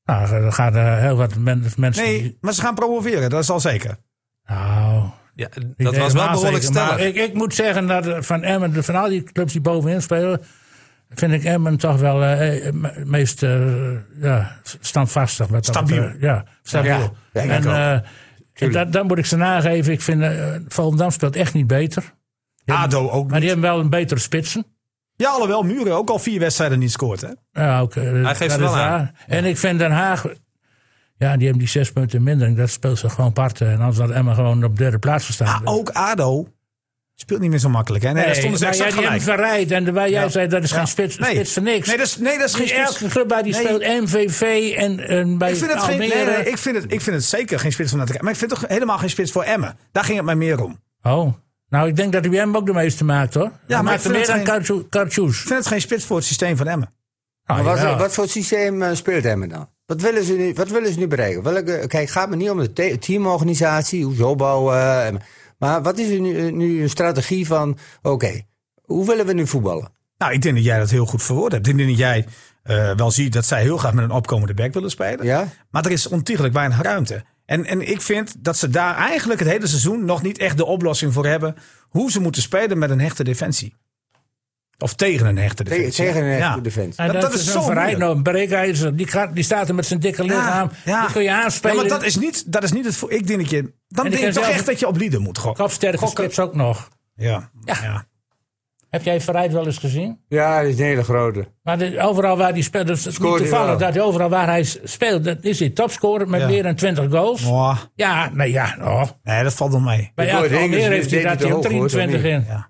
S2: Nou, er gaan er heel wat men- mensen...
S5: Nee,
S2: die-
S5: maar ze gaan promoveren, dat is al zeker.
S2: nou,
S1: Ja, dat
S2: ik denk
S1: was wel
S2: maatregelen,
S1: behoorlijk
S2: maar
S1: stellig.
S2: Ik, ik moet zeggen dat eh, van Emmen, de- van al die clubs die bovenin spelen... vind ik Emmen toch wel eh, eh, me- meest eh, ja, standvastig. Wat dat
S5: Stabiel.
S2: betreft. Ja, stabiel.
S4: Ja, ja, ik
S2: en
S4: ook.
S2: eh, kijk, dat, dat moet ik ze nageven. Ik vind, eh Volendam speelt echt niet beter.
S5: ADO ook
S2: Maar
S5: niet.
S2: die hebben wel een betere spitsen.
S5: Ja, alhoewel Muren ook al vier wedstrijden niet scoort, hè?
S2: Ja, oké.
S1: Hij geeft
S2: dat
S1: ze
S2: is
S1: wel aan.
S2: waar. En ik vind Den Haag... Ja, die hebben die zes punten minder. En dat speelt ze gewoon parten. En anders had Emma gewoon op derde plaats gestaan.
S5: Maar ook ADO speelt niet meer zo makkelijk, hè? Nee, Ah, oh, daar stonden ze
S2: maar
S5: exact
S2: jij die
S5: gelijk.
S2: hem verrijdt. En waar jij
S5: Ja.
S2: zei, dat is geen
S5: Ja.
S2: spits,
S5: Nee.
S2: spits voor niks.
S5: Nee, dat is, nee, dat is geen
S2: Die
S5: spits.
S2: Elke club bij die
S5: Nee.
S2: speelt MVV en, en bij
S5: Ik vind, het geen,
S2: Almere.
S5: nee, nee, ik, vind het, ik vind het zeker geen spits van Natte Maar ik vind het toch helemaal geen spits voor Emmen. Daar ging het mij meer om.
S2: Oh, nou ik denk dat hij bij hem ook de meeste maakt hoor. Ja,
S5: maar
S2: hij
S5: ik
S2: maakt er
S5: vind
S2: meer
S5: het
S2: dan Kartjoe- Kartjoes.
S5: Ik vind het geen spits voor het systeem van Emmen.
S2: Nou,
S4: Maar
S2: jawel.
S4: Wat, wat voor systeem eh, speelt Emmen dan? Wat willen ze nu, wat willen ze nu bereiken? Welke, kijk, het gaat me niet om de te- teamorganisatie, hoe ze opbouwen. eh, maar wat is er nu, eh, nu een strategie van, oké, hoe willen we nu voetballen?
S5: Nou, ik denk dat jij dat heel goed verwoord hebt. Ik denk dat jij eh, wel ziet dat zij heel graag met een opkomende back willen spelen.
S4: Ja?
S5: Maar er is ontiegelijk weinig ruimte. En, en ik vind dat ze daar eigenlijk het hele seizoen nog niet echt de oplossing voor hebben. Hoe ze moeten spelen met een hechte defensie. Of tegen een hechte
S4: Te-
S5: defensie.
S4: tegen een
S5: Ja.
S4: goede defensie.
S2: En
S5: dat-
S2: dat,
S5: dat
S2: is,
S5: is
S2: een
S5: zo
S2: verrijd,
S5: moeilijk.
S2: nou, een breekijzer. Die, gaat- die staat er met zijn dikke lichaam. Die kun je aanspelen.
S5: Ja, maar dat is niet, dat is niet het. vo- Ik denk dat je. Dan
S2: die
S5: denk ik
S2: kan
S5: toch
S2: zelf-
S5: echt dat je op lieden moet gokken.
S2: Kopsterke
S5: Gokken.
S2: spits ook nog.
S5: Ja. Ja.
S2: Heb jij Verrijd wel eens gezien?
S4: Ja, dat is een hele grote.
S2: Maar de- overal waar hij speelt, dat is niet
S4: Scoort hij
S2: toevallig
S4: wel.
S2: dat hij overal waar hij s- speelt, dat is hij topscorer met
S5: Ja.
S2: meer dan 20 goals.
S5: Oh,
S2: Ja, nee, ja. oh.
S5: nee, dat valt wel mee.
S2: Bij
S4: Die
S2: Jacob
S4: Boyd Higgins
S2: Almere heeft hij
S4: deed
S2: dat
S4: het te
S2: hij ook
S4: hoog, hoor,
S2: 23
S4: dat
S2: in.
S5: Ja.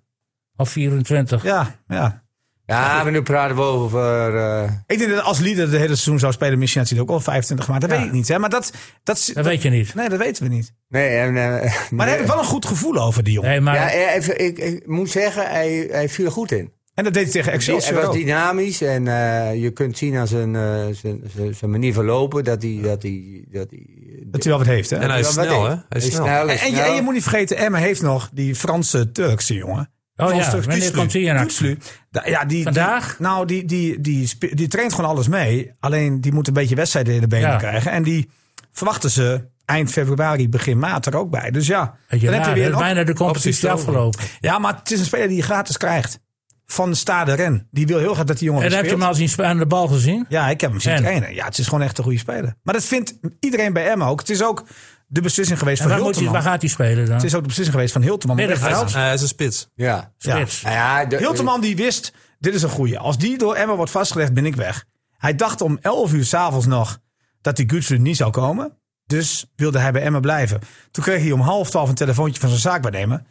S2: Of 24.
S5: Ja, ja.
S4: Ja, maar nu praten we over... eh,
S5: Ik denk dat als Lieder de hele seizoen zou spelen, misschien had hij er ook al 25 gemaakt. Dat weet ik niet, hè? Maar dat, dat,
S2: Dat weet je niet.
S5: Nee, dat weten we niet.
S4: nee, en, eh,
S5: Maar daar
S4: nee.
S5: heb ik wel een goed gevoel over, die jongen.
S2: Nee, maar oh
S4: Ja, eh, even, ik, ik moet zeggen, hij, hij viel er goed in.
S5: En dat deed hij tegen
S4: Die-
S5: Excelsior
S4: hij was
S5: ook.
S4: dynamisch en eh, je kunt zien aan zijn, eh, zijn, zijn, zijn manier van lopen dat hij... Dat hij, dat hij
S5: Dat hij wel wat heeft, hè?
S1: En hij is
S4: Wat
S1: snel,
S4: ik-
S1: hè? Hij is snel.
S4: hij is
S5: En, en je,
S4: snel.
S5: en je moet niet vergeten, Emma heeft nog die Franse Turkse jongen.
S2: Oh
S5: Frans
S2: ja,
S5: Turk,
S2: wanneer
S5: Kutslü.
S2: komt nou? die in actie?
S5: Kutslü. Da- ja, die, die-
S2: Vandaag?
S5: nou, die, die, die, spe- die traint gewoon alles mee. Alleen die moet een beetje wedstrijden in de benen
S2: Ja.
S5: krijgen. En die verwachten ze eind februari, begin maart er ook bij. Dus ja,
S2: weet je,
S5: dan heb je
S2: ja, dat
S5: weer een
S2: is
S5: op-
S2: bijna de competitie
S1: optie over.
S2: afgelopen.
S5: Ja, maar het is een speler die je gratis krijgt. Van Stade Ren. Die wil heel graag dat die jongen
S2: En
S5: weer
S2: heb je
S5: speelt.
S2: hem al zien spe- aan de bal gezien?
S5: Ja, ik heb hem zien
S2: En?
S5: trainen. Ja, het is gewoon echt een goede speler. Maar dat vindt iedereen bij Emma ook. Het is ook de beslissing geweest
S2: En
S5: van
S2: waar, moet hij,
S5: Hilterman.
S2: waar gaat hij spelen dan?
S5: Het is ook de beslissing geweest van Hilterman. om
S2: Middenveld.
S5: rechts-
S1: Eh, Hij is een spits.
S4: Ja.
S5: Ja.
S2: Spits.
S4: Nou ja, de-
S5: Hilterman die wist, dit is een goeie. Als die door Emma wordt vastgelegd, ben ik weg. Hij dacht om 11 uur s'avonds nog dat die Gutslu niet zou komen. Dus wilde hij bij Emma blijven. Toen kreeg hij om half twaalf een telefoontje van zijn zaakwaarnemer.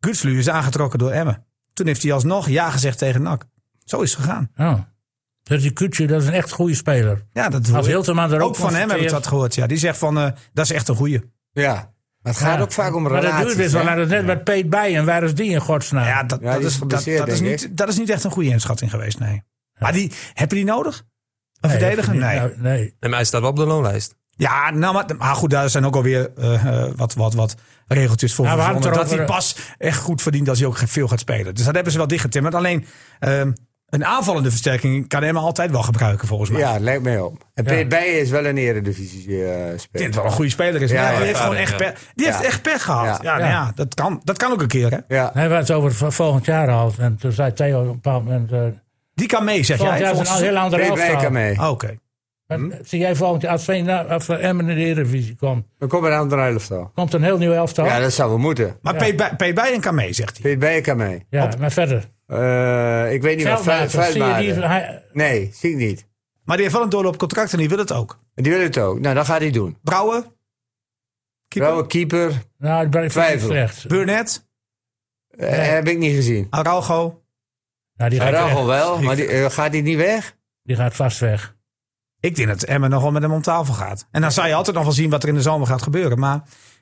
S5: Gutslu is aangetrokken door Emma. Toen heeft hij alsnog ja gezegd tegen NAC. Zo is het gegaan.
S2: Oh. Dat is die Kutje, dat is een echt goede speler.
S5: Ja, dat hoor
S2: Als
S5: ik.
S2: Hilterman er ook
S5: Ook van hem heb ik
S2: constateert-
S5: dat gehoord. Ja, die zegt van, eh, dat is echt een goeie.
S4: Ja. Maar het gaat
S2: Ja.
S4: ook vaak om
S2: Maar
S4: relaties.
S2: dat duurt dus wel.
S4: hè?
S2: Dat is net met Peet Bijen. Waar is die in godsnaam?
S5: Ja, dat,
S4: Ja,
S5: dat,
S4: die is
S5: is, dat,
S4: geblesseerd,
S5: dat is
S4: denk
S5: niet, dat is niet echt een goede inschatting geweest, nee. Maar die, heb je die nodig? Een
S2: Nee,
S5: verdediger?
S2: dat-
S5: Nee.
S2: nou, nee.
S1: Nee, maar hij staat wel op de loonlijst.
S5: Ja, nou, maar, maar goed, daar zijn ook alweer eh, eh, wat, wat, wat regeltjes voor
S2: Ja, we hadden
S5: verzonnen.
S2: het
S5: Dat hij
S2: erover-
S5: pas echt goed verdient als hij ook veel gaat spelen. Dus dat hebben ze wel dichtgetimmerd. Alleen ehm, een aanvallende versterking kan Emma altijd wel gebruiken, volgens mij.
S4: Ja, het lijkt mij op. En
S2: Ja.
S4: Peet Bijen is wel een eredivisie eh
S5: Ik
S4: speler.
S5: denk dat het wel een goede speler is.
S4: Ja,
S5: maar ja, die
S4: ja,
S5: heeft gewoon echt
S1: ervaring, ja.
S5: pech, die heeft
S4: Ja.
S5: echt pech gehad. Ja,
S4: Ja.
S5: nou
S2: Ja.
S5: ja, dat, kan, dat kan ook een keer, hè?
S4: Ja.
S2: Hij was over v- volgend jaar al. En toen zei Theo op een bepaald moment... eh,
S5: Die kan mee, zeg
S2: volgend
S5: jij.
S2: jaar is
S5: volgens- Ah,
S2: een heel andere
S4: Peet Bijen kan
S2: elftal.
S4: mee.
S5: Oké.
S2: Maar, eh, Zie jij volgend jaar, als, Veen- nou, als Emmen in de Eredivisie komt...
S4: Dan komt er een andere elftal.
S2: komt een heel nieuw elftal.
S4: Ja, dat zou wel moeten.
S5: Maar Peet Bij- Peet Bijen kan mee, zegt hij.
S4: Peet Bijen kan mee.
S2: Ja, maar verder.
S4: Eh, ik weet niet wat
S2: Veldmaat,
S4: Vuil-
S2: zie je die-
S4: Vuilmaarden.
S2: hij-
S4: Nee, zie ik niet.
S5: Maar die heeft wel een doorloop contract en die wil het ook.
S4: Die wil het ook. Nou, dat gaat hij doen.
S5: Brouwer, keeper,
S4: Trouwe keeper
S2: Nou, ik ben ik vind het
S4: Twijfel.
S2: slecht.
S5: Burnett,
S4: eh, heb ik niet gezien.
S5: Araujo.
S2: Nou, die gaat, weg.
S4: Aragel wel, maar die, eh, gaat hij niet weg?
S2: Die gaat vast weg.
S5: Ik denk dat Emmen nog wel met hem om tafel gaat. En dan zou je altijd nog wel zien wat er in de zomer gaat gebeuren. Maar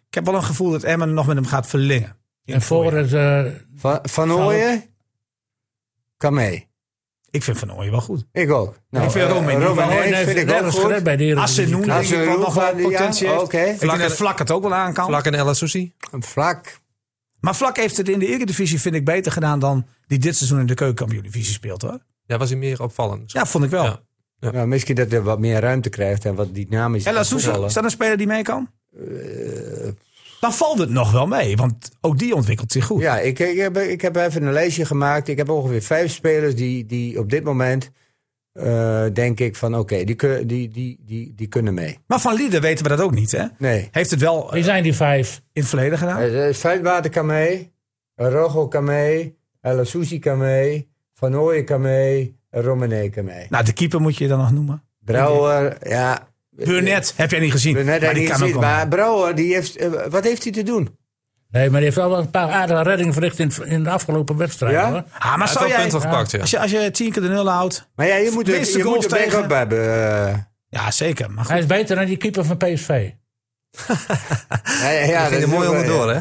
S5: ik heb wel een gevoel dat Emmen nog met hem gaat verlengen.
S2: En voor het... eh,
S4: Van, van Ooyen kan mee.
S5: Ik vind Van Ooyen wel goed.
S4: Ik ook. Nou,
S5: Ik vind
S4: eh,
S5: Romein niet,
S4: Romein
S5: maar
S4: Heijn
S2: nee,
S4: vind ik ook
S2: nergens gered
S4: goed.
S2: bij de Eredivisie.
S5: Assenoen denk
S4: Als
S5: ik wel
S4: Roel
S5: nog wel
S4: van- ja,
S5: potentie heeft.
S4: oké.
S5: Ik denk dat Vlak het ook wel aan kan.
S1: Vlak en El Soussi.
S4: Vlak.
S5: Maar Vlak heeft het in de Eredivisie vind ik beter gedaan dan die dit seizoen in de keukenkampioen-divisie speelt hoor.
S1: Daar was hij meer opvallend.
S5: Ja, vond ik wel.
S1: Ja.
S4: Nou, misschien dat hij wat meer ruimte krijgt en wat dynamisch
S5: En La Sousa, is dat een speler die mee kan? Dan valt het nog wel mee, want ook die ontwikkelt zich goed.
S4: Ja, ik, ik, heb, ik heb even een lijstje gemaakt. Ik heb ongeveer vijf spelers die, die op dit moment eh, denk ik van oké, die, kun- die, die, die, die kunnen mee.
S5: Maar van Lieden weten we dat ook niet, hè?
S4: Nee.
S5: Heeft het wel eh,
S2: Wie zijn die vijf?
S5: in het verleden gedaan?
S4: Eh, eh, Veldwater kan mee, Rogo kan mee, El Susi kan mee, Van Ooyen kan mee, en Romané kan mee.
S5: Nou, de keeper moet je dan nog noemen.
S4: Brouwer, ja.
S5: Burnett heb jij niet gezien.
S4: Burnett
S5: maar
S4: heeft
S5: die
S4: niet
S5: kan ook
S4: gezien,
S5: wel.
S4: maar Brouwer, die heeft, eh, wat heeft hij te doen?
S2: Nee, maar die heeft wel een paar aardige reddingen verricht in, in de afgelopen wedstrijden.
S4: Ja?
S2: Hoor.
S5: Ah, maar
S1: Hij heeft
S5: zou
S1: wel
S5: jij,
S1: punten gepakt, ja.
S5: als, je, als je tien keer de nul houdt...
S4: Maar ja, je moet, er-
S5: Minste
S4: je moet
S5: goals
S4: een backup
S5: tegen.
S4: hebben. eh.
S5: Ja, zeker. Maar goed.
S2: Hij is beter dan die keeper van PSV.
S4: Ja, ja,
S1: Hij
S4: dat
S1: ging
S4: is
S1: er mooi
S4: ook wel-
S1: onderdoor, hè?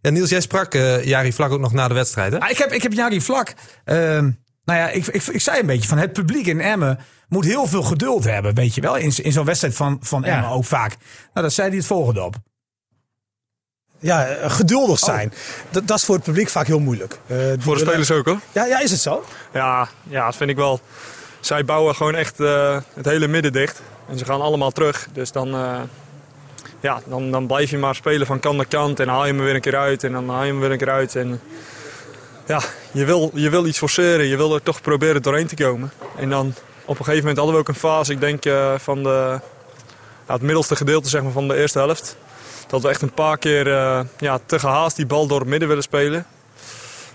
S1: En Niels, jij sprak eh Jari Vlak ook nog na de wedstrijd, hè?
S5: Ah, ik heb, ik heb Jari Vlak. ehm, nou ja, ik, ik, ik zei een beetje van het publiek in Emmen moet heel veel geduld hebben. Weet je wel, in, z- in zo'n wedstrijd van, van Emmen ook vaak. Nou, dat zei hij het volgende op. Oh.
S7: Ja, eh, geduldig zijn. Dat, dat is voor het publiek vaak heel moeilijk. Eh, die
S10: Voor de
S7: willen-
S10: spelers ook hoor.
S7: Ja, ja, is het zo?
S10: Ja, ja, dat vind ik wel. Zij bouwen gewoon echt eh, het hele midden dicht. En ze gaan allemaal terug. Dus dan, eh, ja, dan, dan blijf je maar spelen van kant naar kant. En dan haal je hem er weer een keer uit. En dan haal je hem er weer een keer uit. En, ja, je wil, je wil iets forceren. Je wil er toch proberen doorheen te komen. En dan op een gegeven moment hadden we ook een fase, ik denk eh, van de, ja, het middelste gedeelte zeg maar, van de eerste helft. Dat we echt een paar keer eh, ja, te gehaast die bal door het midden willen spelen.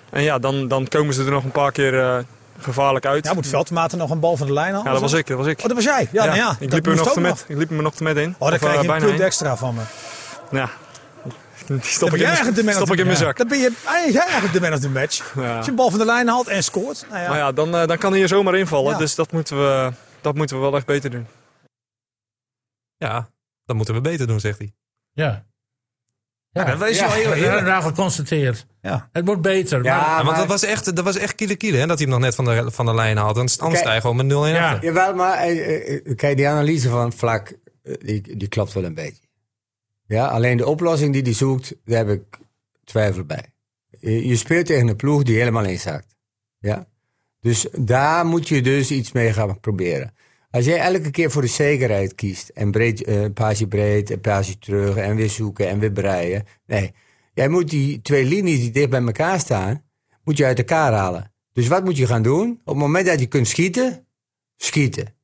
S10: En ja, dan, dan komen ze er nog een paar keer eh, gevaarlijk uit.
S7: Ja, moet Veldmaten nog een bal van de lijn halen?
S10: Ja, dat was ik, dat was ik.
S7: Oh, dat was jij? Ja, nou ja.
S10: ik,
S7: dat
S10: liep er
S7: moest
S10: nog te
S7: ook
S10: met, ik liep er nog te met in.
S7: Oh, dan
S10: Of,
S7: krijg
S10: eh,
S7: je een
S10: bijna
S7: punt
S10: in.
S7: extra van me.
S10: Ja. Die stop
S7: Dan
S10: ik
S7: ben jij
S10: in mijn-
S7: eigenlijk de man
S10: stop
S7: of the-
S10: ik in mijn
S7: Ja.
S10: zak.
S7: Dan ben je, jij eigenlijk de man of the match.
S10: Ja.
S7: Als je een bal van de lijn haalt en scoort. Nou ja.
S10: Maar ja, dan, eh, dan kan hij er zomaar invallen.
S7: Ja.
S10: Dus dat moeten, we, dat moeten we wel echt beter doen.
S1: Ja, dat moeten we beter doen, zegt hij.
S2: Ja. Ja,
S5: dat is wel heel
S2: dat
S5: eerlijk.
S2: hebben we al geconstateerd.
S5: Ja.
S2: Het wordt beter.
S4: Ja,
S2: maar-
S1: Ja, want
S4: maar-
S1: dat was echt, dat was echt kiele kiele, hè? Dat hij hem nog net van de, van de lijn had. En anders
S4: Kijk.
S1: sta je gewoon met 0-1
S2: Ja.
S1: achter.
S4: Jawel, maar eh, eh, kijk, die analyse van Vlak, eh, die, die klopt wel een beetje. Ja, alleen de oplossing die hij zoekt, daar heb ik twijfel bij. Je, je speelt tegen een ploeg die helemaal inzakt. Ja? Dus daar moet je dus iets mee gaan proberen. Als jij elke keer voor de zekerheid kiest en breed, eh, een paasje breed, een paasje terug en weer zoeken en weer breien. Nee, jij moet die twee linies die dicht bij elkaar staan, moet je uit elkaar halen. Dus wat moet je gaan doen? Op het moment dat je kunt schieten, schieten.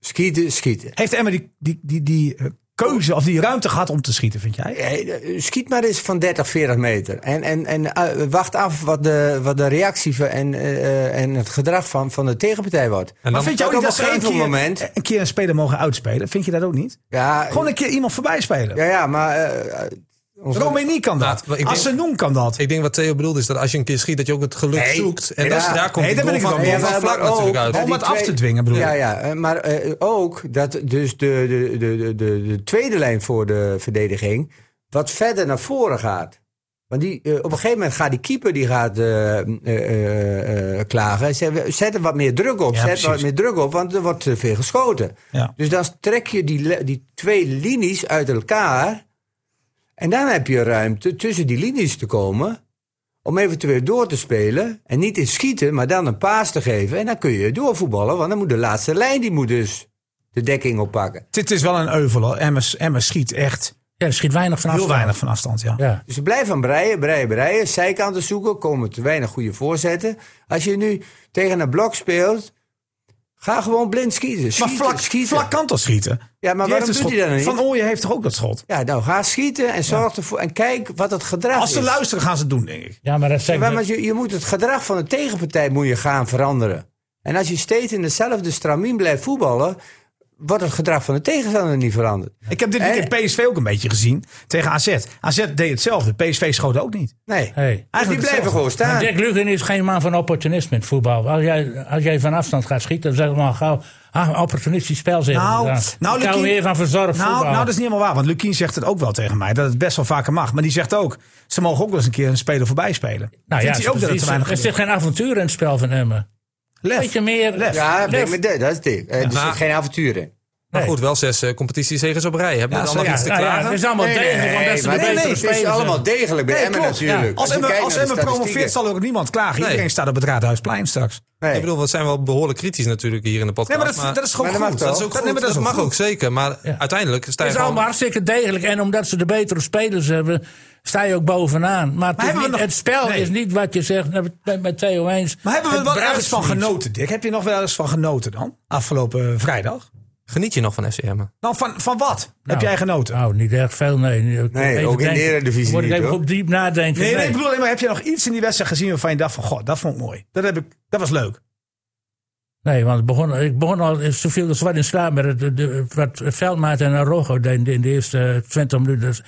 S4: Schieten, schieten.
S5: Heeft Emmen die, die, die, die eh, keuze of die ruimte gehad om te schieten, vind jij?
S4: Eh, eh, Schiet maar eens van 30, 40 meter. En, en, en eh, wacht af wat de, wat de reactie van- en, eh, eh, en het gedrag van, van de tegenpartij wordt.
S1: En dan,
S5: Maar vind je ook
S4: ook
S5: niet
S4: op
S5: dat
S4: een
S5: ze een
S4: gegeven
S5: keer,
S4: moment-
S5: een keer een speler mogen uitspelen? Vind je dat ook niet?
S4: Ja,
S5: Gewoon een keer iemand voorbij spelen.
S4: ja, ja maar eh, eh, onze-
S5: Romani kan dat.
S1: Nou, ik denk-
S5: Assenoen kan dat.
S1: ik denk wat Theo bedoelt is dat als je een keer schiet, dat je ook het geluk zoekt. En
S4: Ja.
S1: dat is- daar komt
S5: Nee,
S1: die goal
S5: daar ben ik
S1: van,
S5: het wel mee
S1: van
S5: eens.
S1: Vlak
S4: Maar ook
S1: natuurlijk uit.
S4: dat
S5: Om
S4: die
S5: het af te dwingen, bedoel
S4: Ja,
S5: ik.
S4: ja, eh, maar eh, ook dat dus de, de, de, de, de, de tweede lijn voor de verdediging wat verder naar voren gaat. Want die, eh, op een gegeven moment gaat die keeper die gaat, eh, eh, eh, eh, klagen. Zet, zet er wat meer druk op.
S5: Ja,
S4: zet
S5: precies.
S4: wat meer druk op, want er wordt te veel geschoten.
S5: Ja.
S4: Dus dan trek je die, le- die twee linies uit elkaar. En dan heb je ruimte tussen die linies te komen. Om eventueel door te spelen. En niet in schieten, maar dan een paas te geven. En dan kun je doorvoetballen, want dan moet de laatste lijn die moet dus de dekking oppakken.
S5: Dit is wel een euvel. hoor. Emmen Emmen schiet echt
S2: ja, er schiet weinig vanaf.
S5: heel weinig van afstand. Ja.
S2: Ja.
S4: Dus ze blijven aan breien, breien, breien. Zijkanten zoeken, komen te weinig goede voorzetten. Als je nu tegen een blok speelt, ga gewoon blind schieten.
S5: Maar
S4: Schieten,
S5: vlak,
S4: schieten.
S5: vlak kan toch schieten?
S4: Ja, maar
S5: Die
S4: waarom
S5: heeft
S4: doet
S5: een
S4: hij dat
S5: schot.
S4: niet?
S5: Van Ooyen heeft toch ook dat schot?
S4: Ja, nou ga schieten en zorg ervoor. En kijk wat het gedrag
S5: Als ze
S4: is.
S5: luisteren, gaan ze het doen, denk ik.
S2: ja, maar dat
S4: Ja,
S2: zegt
S4: maar je, je moet het gedrag van de tegenpartij moet je gaan veranderen. En als je steeds in dezelfde stramien blijft voetballen, wordt het gedrag van de tegenstander niet veranderd.
S5: Ik heb dit weekend PSV ook een beetje gezien tegen AZ. AZ deed hetzelfde. PSV schoot ook niet.
S4: Nee,
S2: Hey.
S4: die
S5: Eigenlijk
S4: blijven
S5: hetzelfde.
S4: gewoon staan.
S2: Jack Lugen is geen man van opportunisme in het voetbal. Als jij, als jij van afstand gaat schieten, dan zeg ik maar gauw... ah, opportunistisch spel zeggen.
S5: Nou,
S2: we dan.
S5: nou,
S2: ik hou
S5: Lukien-
S2: meer van verzorgd
S5: Nou,
S2: voetbal.
S5: nou, dat is niet helemaal waar. Want Lukien zegt het ook wel tegen mij. Dat het best wel vaker mag. Maar die zegt ook, ze mogen ook wel eens een keer een speler voorbij spelen.
S2: Nou
S5: Vindt hij ook dat het te
S2: precies.
S5: weinig
S2: Er zit
S5: gebeurt.
S2: geen avontuur in het spel van Emmen.
S5: Lef.
S2: Beetje meer...
S5: Lef.
S4: Ja,
S2: Lef.
S4: nee, maar dat dat is dik. Eh, Er zit
S1: Maar-
S4: geen avontuur in.
S1: Maar
S2: Nee.
S1: goed, wel zes eh, competitiezegers op rij. Hebben we dan nog
S2: Ja,
S1: iets te
S2: nou ja,
S1: klagen?
S2: het is allemaal degelijk, omdat ze
S4: maar
S2: de betere
S4: nee, nee, het
S2: spelers
S4: is
S2: hebben.
S4: allemaal degelijk bij
S5: Nee,
S4: Emmen
S5: klopt.
S4: natuurlijk.
S5: Als
S4: je
S5: Emmen
S4: kijkt
S5: als
S4: naar de
S5: Emmen promoveert
S4: statistieken.
S5: zal er ook niemand klagen.
S1: Nee.
S5: Iedereen staat op het Raadhuisplein straks.
S4: Nee.
S1: Ik bedoel, we zijn wel behoorlijk kritisch natuurlijk hier in de podcast.
S5: Nee, maar dat, dat dus is gewoon
S4: maar dat
S5: goed.
S4: mag wel.
S1: is ook goed.
S5: nee, maar
S1: dat
S5: is
S1: mag
S5: goed.
S1: ook zeker. Maar uiteindelijk sta
S2: Het
S1: je
S2: is
S1: gewoon-
S2: allemaal hartstikke degelijk. En omdat ze de betere spelers hebben, sta je ook bovenaan. Maar, het, is
S5: hebben we
S2: niet-
S5: nog-
S2: het spel
S5: Nee.
S2: is niet wat je zegt nou, met- met, met Theo eens.
S5: Maar hebben we er
S2: Het
S5: wel
S2: bruist
S5: ergens van
S2: niet.
S5: genoten, Dick? Heb je nog wel eens van genoten dan? Afgelopen eh, vrijdag?
S1: Geniet je nog van FCM?
S5: Nou, van, van wat heb
S2: Nou,
S5: jij genoten?
S2: Nou, niet echt veel, nee. Ik
S4: Nee,
S2: even
S4: ook in de
S2: denken.
S4: Eredivisie
S2: Dan Moet ik
S4: niet,
S2: even
S4: hoor.
S2: op diep nadenken.
S5: Nee, nee,
S2: Nee.
S5: ik bedoel alleen maar, heb je nog iets in die wedstrijd gezien waarvan je dacht van, god, dat vond ik mooi. Dat, heb ik, dat was leuk.
S2: Nee, want ik begon, ik begon al zoveel als wat in slaap met het, de- de- wat Veldmaat en Rogo deden in de eerste 20 minuten. Dus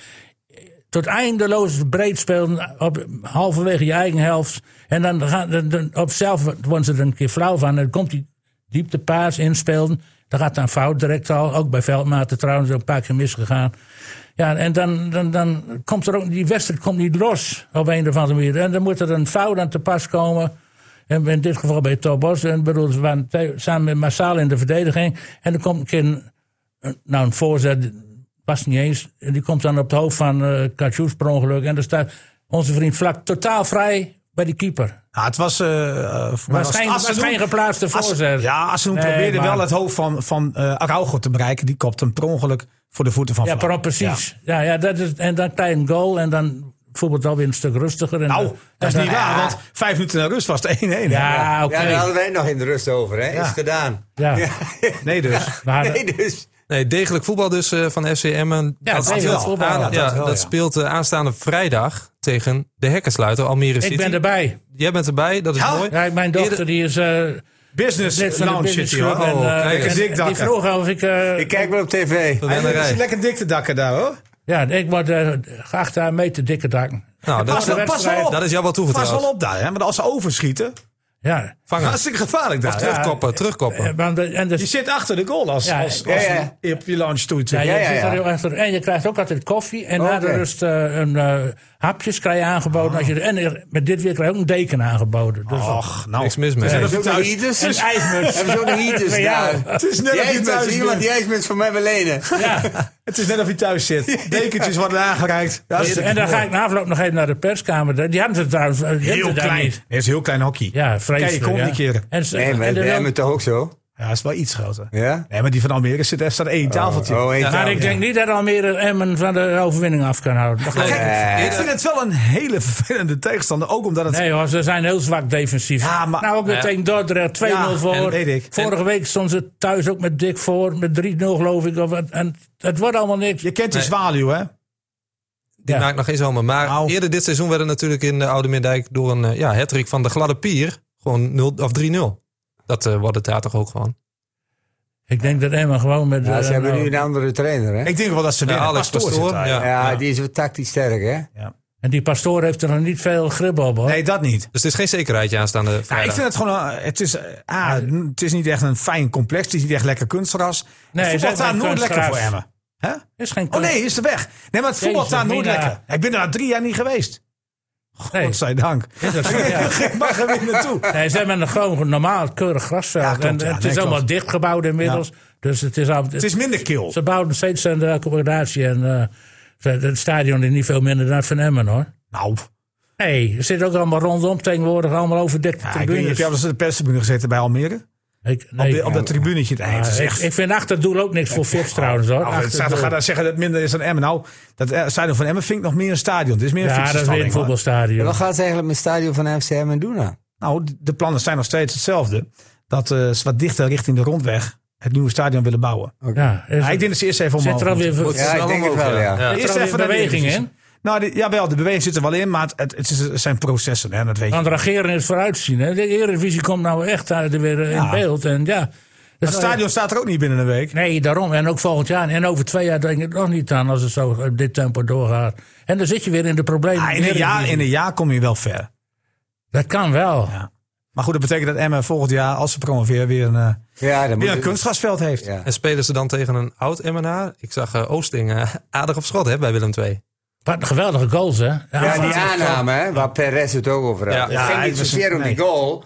S2: tot eindeloos breed spelen, op, halverwege je eigen helft. En dan, gaan, dan, dan op zelf worden ze er een keer flauw van. En dan komt die dieptepaas inspelen. Dan gaat dan fout direct al. Ook bij Veldmaten trouwens, een paar keer misgegaan. Ja, en dan, dan, dan komt er ook, die wedstrijd komt niet los op een of andere manier. En dan moet er een fout aan te pas komen. En in dit geval bij Tobos. En ik bedoel, ze waren twee- samen met Massaal in de verdediging. En dan komt een keer een, een- nou, een voorzet, was niet eens. En die komt dan op het hoofd van eh Katsjoes per ongeluk. En daar staat onze vriend Vlak totaal vrij bij die keeper.
S5: Ja, Nou, het was... eh eh, voor mij was
S2: Waarschijn-
S5: het Asenoen.
S2: waarschijn geplaatste
S5: As-
S2: voorzet.
S5: Ja, Asenoen
S2: Nee,
S5: probeerde
S2: maar-
S5: wel het hoofd van, van eh, Araujo te bereiken. Die kopt hem per ongeluk voor de voeten van
S2: Ja,
S5: Vlaar.
S2: per- precies. Ja. Ja, dat is, en dan krijg je een goal en dan voetbalt het alweer een stuk rustiger. En
S5: Nou,
S2: dan-
S5: dat is
S2: en
S5: niet
S2: dan-
S5: waar, want vijf minuten naar rust was het 1-1. hè?
S2: Ja, oké.
S4: Ja, nou, daar hadden wij het nog in de rust over, hè?
S5: Ja.
S4: Is gedaan.
S2: Ja.
S5: Nee dus.
S2: Maar- eh,
S4: Nee, dus.
S1: Nee, degelijk voetbal dus eh, van FCM.
S2: Ja,
S1: dat,
S2: degelijk
S1: speelt,
S2: voetbal.
S1: aan-
S2: Ja,
S1: ja,
S2: dat
S5: wel,
S1: dat
S5: ja.
S1: speelt eh, aanstaande vrijdag tegen de hekkensluiter Almere City.
S2: ik ben erbij.
S1: Jij bent erbij, dat is
S5: Ja.
S1: mooi.
S2: Ja, mijn dochter
S1: Eerder-
S2: die is eh lid
S5: Business
S2: van de
S5: lounge
S2: business
S5: zit hier.
S2: club.
S5: hoor.
S2: en,
S1: Oh,
S2: eh,
S1: kijk eens.
S2: en
S5: Dik
S2: die
S5: dakken.
S2: vroeg of ik... eh,
S4: Ik kijk wel op tv.
S5: Het is
S1: Verwennerij.
S5: lekker dikte dakken daar hoor.
S2: Ja, ik word eh, geacht daar mee te dikke dakken.
S1: Nou,
S5: Pas,
S1: dat,
S5: wel- pas wel op.
S1: dat is jou wel
S5: Pas
S1: toevertrouwd.
S5: wel op daar, hè? want als ze overschieten,
S2: Ja.
S1: Vangen.
S5: hartstikke gevaarlijk daar. hè?
S1: Terugkoppen,
S2: Eh,
S1: terugkoppen.
S2: want, eh, en
S5: Je
S2: dus,
S5: zit achter de goal als,
S2: Ja,
S5: als,
S2: ja,
S5: als
S4: ja.
S5: je op je lunch toe.
S2: ja, je
S4: ja,
S2: zit
S4: ja.
S2: er heel achter. En je krijgt ook altijd koffie. En na de
S4: Oké.
S2: rust eh, een, eh, hapjes krijg je aangeboden. Als je, en er- met dit weer krijg je ook een deken aangeboden. Dus
S5: Och, nou.
S1: Niks mis mee.
S5: zijn
S4: Hebben ze ook nog
S5: Thuis.
S4: heaters?
S2: een ijsmuts.
S4: Hebben ze ook nog heaters
S2: Ja.
S4: daar?
S5: Het is net
S4: Die
S5: of je
S4: ijsmuts,
S5: thuis
S4: iemand
S5: bent.
S4: die ijsmuts van mij wil lenen.
S2: Ja.
S5: Het is net of je thuis zit. Dekentjes worden aangereikt. Ja, hartstikke
S2: Dus- En dan
S5: mooi.
S2: ga ik na afloop nog even naar de perskamer. Die hadden ze trouwens die hadden ze
S5: Heel
S2: daar
S5: klein.
S2: niet.
S5: Nee, het is heel klein hockey.
S2: Ja, vreselijk.
S5: Kijk, je kon
S2: ja.
S5: niet keren.
S2: En, ze-
S4: Nee, maar
S2: en
S4: dat
S2: de
S4: is bij
S2: wil-
S4: Emmen toch ook zo?
S5: Ja, het is wel iets groter.
S4: Ja?
S5: Nee, maar die van Almere zit, er staat één tafeltje.
S4: Oh, één
S2: maar
S4: taal,
S2: ik
S4: ja.
S2: denk niet dat Almere Emmen van de overwinning af kan houden. Dat geloof ik
S5: Kijk,
S4: Eh.
S5: ik vind het wel een hele vervelende tegenstander. Ook omdat het...
S2: Nee hoor, ze zijn heel zwak defensief.
S5: Ja, maar-
S2: nou, ook weer
S1: Ja.
S2: tegen Dordrecht 2-0
S5: Ja,
S2: voor.
S5: en- weet ik.
S2: Vorige week stonden ze thuis ook met dik voor. Met 3-0 geloof ik. Of, wat. en het wordt allemaal niks.
S5: Je kent die
S1: Nee.
S5: zwaluw, hè?
S1: Die
S2: Ja.
S1: maakt nog geen zomer. Maar
S5: Nou.
S1: eerder dit seizoen werden natuurlijk in de Oude Middijk door een eh, ja, hattrick van de gladde pier gewoon 0 of 3-0. Dat eh, wordt het daar toch ook gewoon.
S2: Ik denk dat Emma gewoon met...
S4: Ja,
S2: eh,
S4: ze hebben
S2: nou,
S4: nu een andere trainer, hè?
S5: Ik denk wel dat ze
S1: Ja,
S5: winnen.
S1: Alex
S5: Pastoor
S1: Pastoor.
S5: zit daar, ja.
S1: ja.
S4: Ja, die is wel tactisch sterk, hè?
S2: En die pastoor heeft er nog niet veel grip op hoor.
S5: Nee, dat niet.
S1: Dus het is geen zekerheidje aanstaande
S5: Ja, ik
S1: vrijdag.
S5: vind het gewoon... eh, Het is, eh, ah, het is niet echt een fijn complex. Het is niet echt lekker kunstgras.
S2: Nee,
S5: het
S2: het is
S5: voetbal
S2: echt
S5: daar
S2: geen
S5: nooit lekker voor
S2: kunstgras.
S5: Emmen. Hè?
S2: Is geen
S5: Oh nee, is er weg. Nee, maar het voetbal
S2: Jezus,
S5: daar nooit
S2: Mina.
S5: lekker. Ik ben er al drie jaar niet geweest.
S2: Nee.
S5: Godzijdank.
S2: Is dat zo? Ja.
S5: Ik mag er weer naartoe.
S2: Nee, ze hebben een gewoon normaal keurig grasveld.
S5: Ja, klopt,
S2: en, eh,
S5: ja.
S2: het
S5: Nee,
S2: is
S5: klopt.
S2: allemaal dichtgebouwd inmiddels. Dus het is, al,
S5: Het is minder kil.
S2: Ze bouwen steeds aan de accommodatie. En eh, ze- het stadion is niet veel minder dan van Emmen hoor.
S5: Nou,
S2: Nee, er zit ook allemaal rondom tegenwoordig allemaal overdekte
S5: ja, ik weet niet. Heb
S2: tribunes.
S5: jij wel eens op de perstribune gezeten bij Almere?
S2: Ik,
S5: Op,
S2: nee, nou, eh,
S5: de, op dat tribunetje. Nee, het is
S2: ik,
S5: echt...
S2: ik vind achter het doel ook niks voor Fits trouwens hoor.
S5: Nou,
S2: Achter
S5: het
S2: het
S5: staat- we
S2: doel.
S5: gaan daar zeggen dat het minder is dan Emmen. Nou, dat eh, stadion van Emmen vind ik nog meer een stadion. Het is meer een
S2: ja, dat is weer een
S5: fietsenstalling, maar-
S4: En
S2: voetbalstadion.
S4: Wat gaat ze eigenlijk met het stadion van FCM en doen nou?
S5: Nou, d- de plannen zijn nog steeds hetzelfde. Dat eh, ze wat dichter richting de rondweg het nieuwe stadion willen bouwen.
S2: Ja, is-
S5: Ja, ik denk dat ze eerst even
S2: zit
S5: omhoog
S2: er alweer
S5: moeten.
S2: ver-
S1: Moet
S2: zit
S4: Ja,
S1: snel
S4: ik denk het
S1: omhoog,
S4: wel, ja.
S2: er
S5: Eerst
S2: alweer
S5: even naar de
S2: beweging
S5: Eredivisie.
S2: in?
S5: Nou, de- jawel, de beweging zit er wel in, maar het, het, is- het zijn processen, hè, dat weet
S2: Want
S5: je.
S2: regeren is vooruitzien. Hè? De Eredivisie komt nou echt uit- weer eh, in
S5: Ja.
S2: beeld. En oh, ja, dat
S5: Het
S2: is-
S5: stadion staat er ook niet binnen een week.
S2: Nee, daarom. En ook volgend jaar. En over twee jaar denk ik er nog niet aan als het zo op dit tempo doorgaat. En dan zit je weer in de problemen.
S5: Ah, in, een jaar, in een jaar kom je wel ver.
S2: Dat kan wel.
S5: Ja. Maar goed, dat betekent dat Emmen volgend jaar, als ze promoveren, weer een, eh,
S4: Ja, dan moet
S5: weer een
S4: je-
S5: kunstgrasveld heeft.
S4: Ja.
S1: En spelen ze dan tegen een oud MNA? Ik zag eh, Oosting eh, aardig op schot hè, bij Willem II.
S2: Wat een geweldige goals, hè?
S4: Ja, Ah, die
S2: aanval.
S4: aanname, hè, waar Perez het ook over had.
S1: Ja.
S4: het
S5: Ja,
S4: ging
S5: hij
S4: niet
S5: was-
S4: zozeer om
S5: nee.
S4: die goal,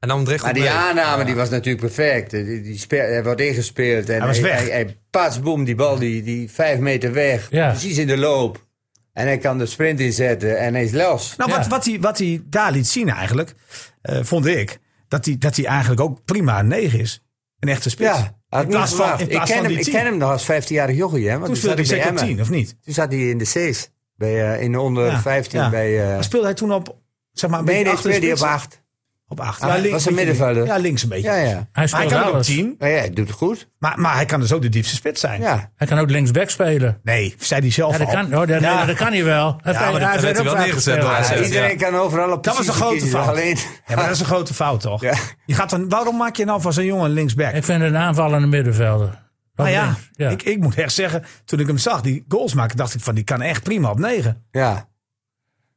S1: En Andrecht
S4: maar die aanname die was natuurlijk perfect. Die, die spe- hij wordt ingespeeld en hij,
S5: was
S4: hij,
S5: weg.
S4: hij, past, boem, die bal die, die vijf meter weg.
S2: Ja.
S4: Precies in de loop. En hij kan de sprint inzetten en hij is los.
S5: Nou, wat,
S2: Ja.
S5: wat, hij, wat hij daar liet zien eigenlijk, eh, vond ik, dat hij, dat hij eigenlijk ook prima een 9 is. Een echte spits.
S4: Ja, had
S5: in
S4: niet
S5: plaats van,
S4: verwacht.
S5: in
S4: ik,
S5: plaats
S4: ken
S5: van
S4: hem,
S5: die
S4: ik
S5: 10.
S4: ken hem nog als 15-jarige jongen, hè? Want
S5: Toen
S4: toen, zat
S5: speelde hij
S4: hij bij
S5: zeker op
S4: Emmen.
S5: 10, of niet?
S4: Toen zat hij in de C's, bij, eh, in de onder
S5: Ja,
S4: 15
S5: ja.
S4: bij... eh
S5: Maar speelde hij toen op, zeg maar, een
S4: nee,
S5: beetje
S4: nee,
S5: achter de
S4: speelde hij op
S5: spits?
S4: 8.
S5: Op acht.
S4: Ah, was een
S5: beetje
S4: middenvelder.
S5: links. Ja, links een beetje.
S4: Ja, ja.
S2: Hij
S5: Maar hij
S2: speelt
S5: kan ook op
S2: alles.
S5: 10,
S4: Maar ja, hij doet het goed.
S5: maar, maar hij kan dus ook de diepste spits zijn.
S4: Ja.
S2: Hij kan ook linksback spelen.
S5: Nee, zei hij zelf
S2: Ja, dat
S5: al.
S2: kan, oh, dat,
S5: Ja.
S2: nee, dat kan hij wel. Hij
S5: maar dat-
S2: hij
S5: dat
S1: werd
S2: ook
S1: hij wel
S2: vaak
S1: neergezet
S2: gespeeld.
S1: door AZ.
S4: Ja, iedereen kan overal op
S5: Dat was een
S4: precies
S5: grote
S4: kiezen,
S5: fout.
S4: Alleen,
S5: Ja, maar dat is een grote fout, toch? Je gaat dan, waarom maak je nou van zo'n jongen een linksback?
S2: Ik vind het een aanvallende middenvelder.
S5: Nou ja,
S2: Links, ja.
S5: Ik, ik moet echt zeggen, toen ik hem zag, die goals maken, dacht ik van, die kan echt prima op 9.
S4: Ja.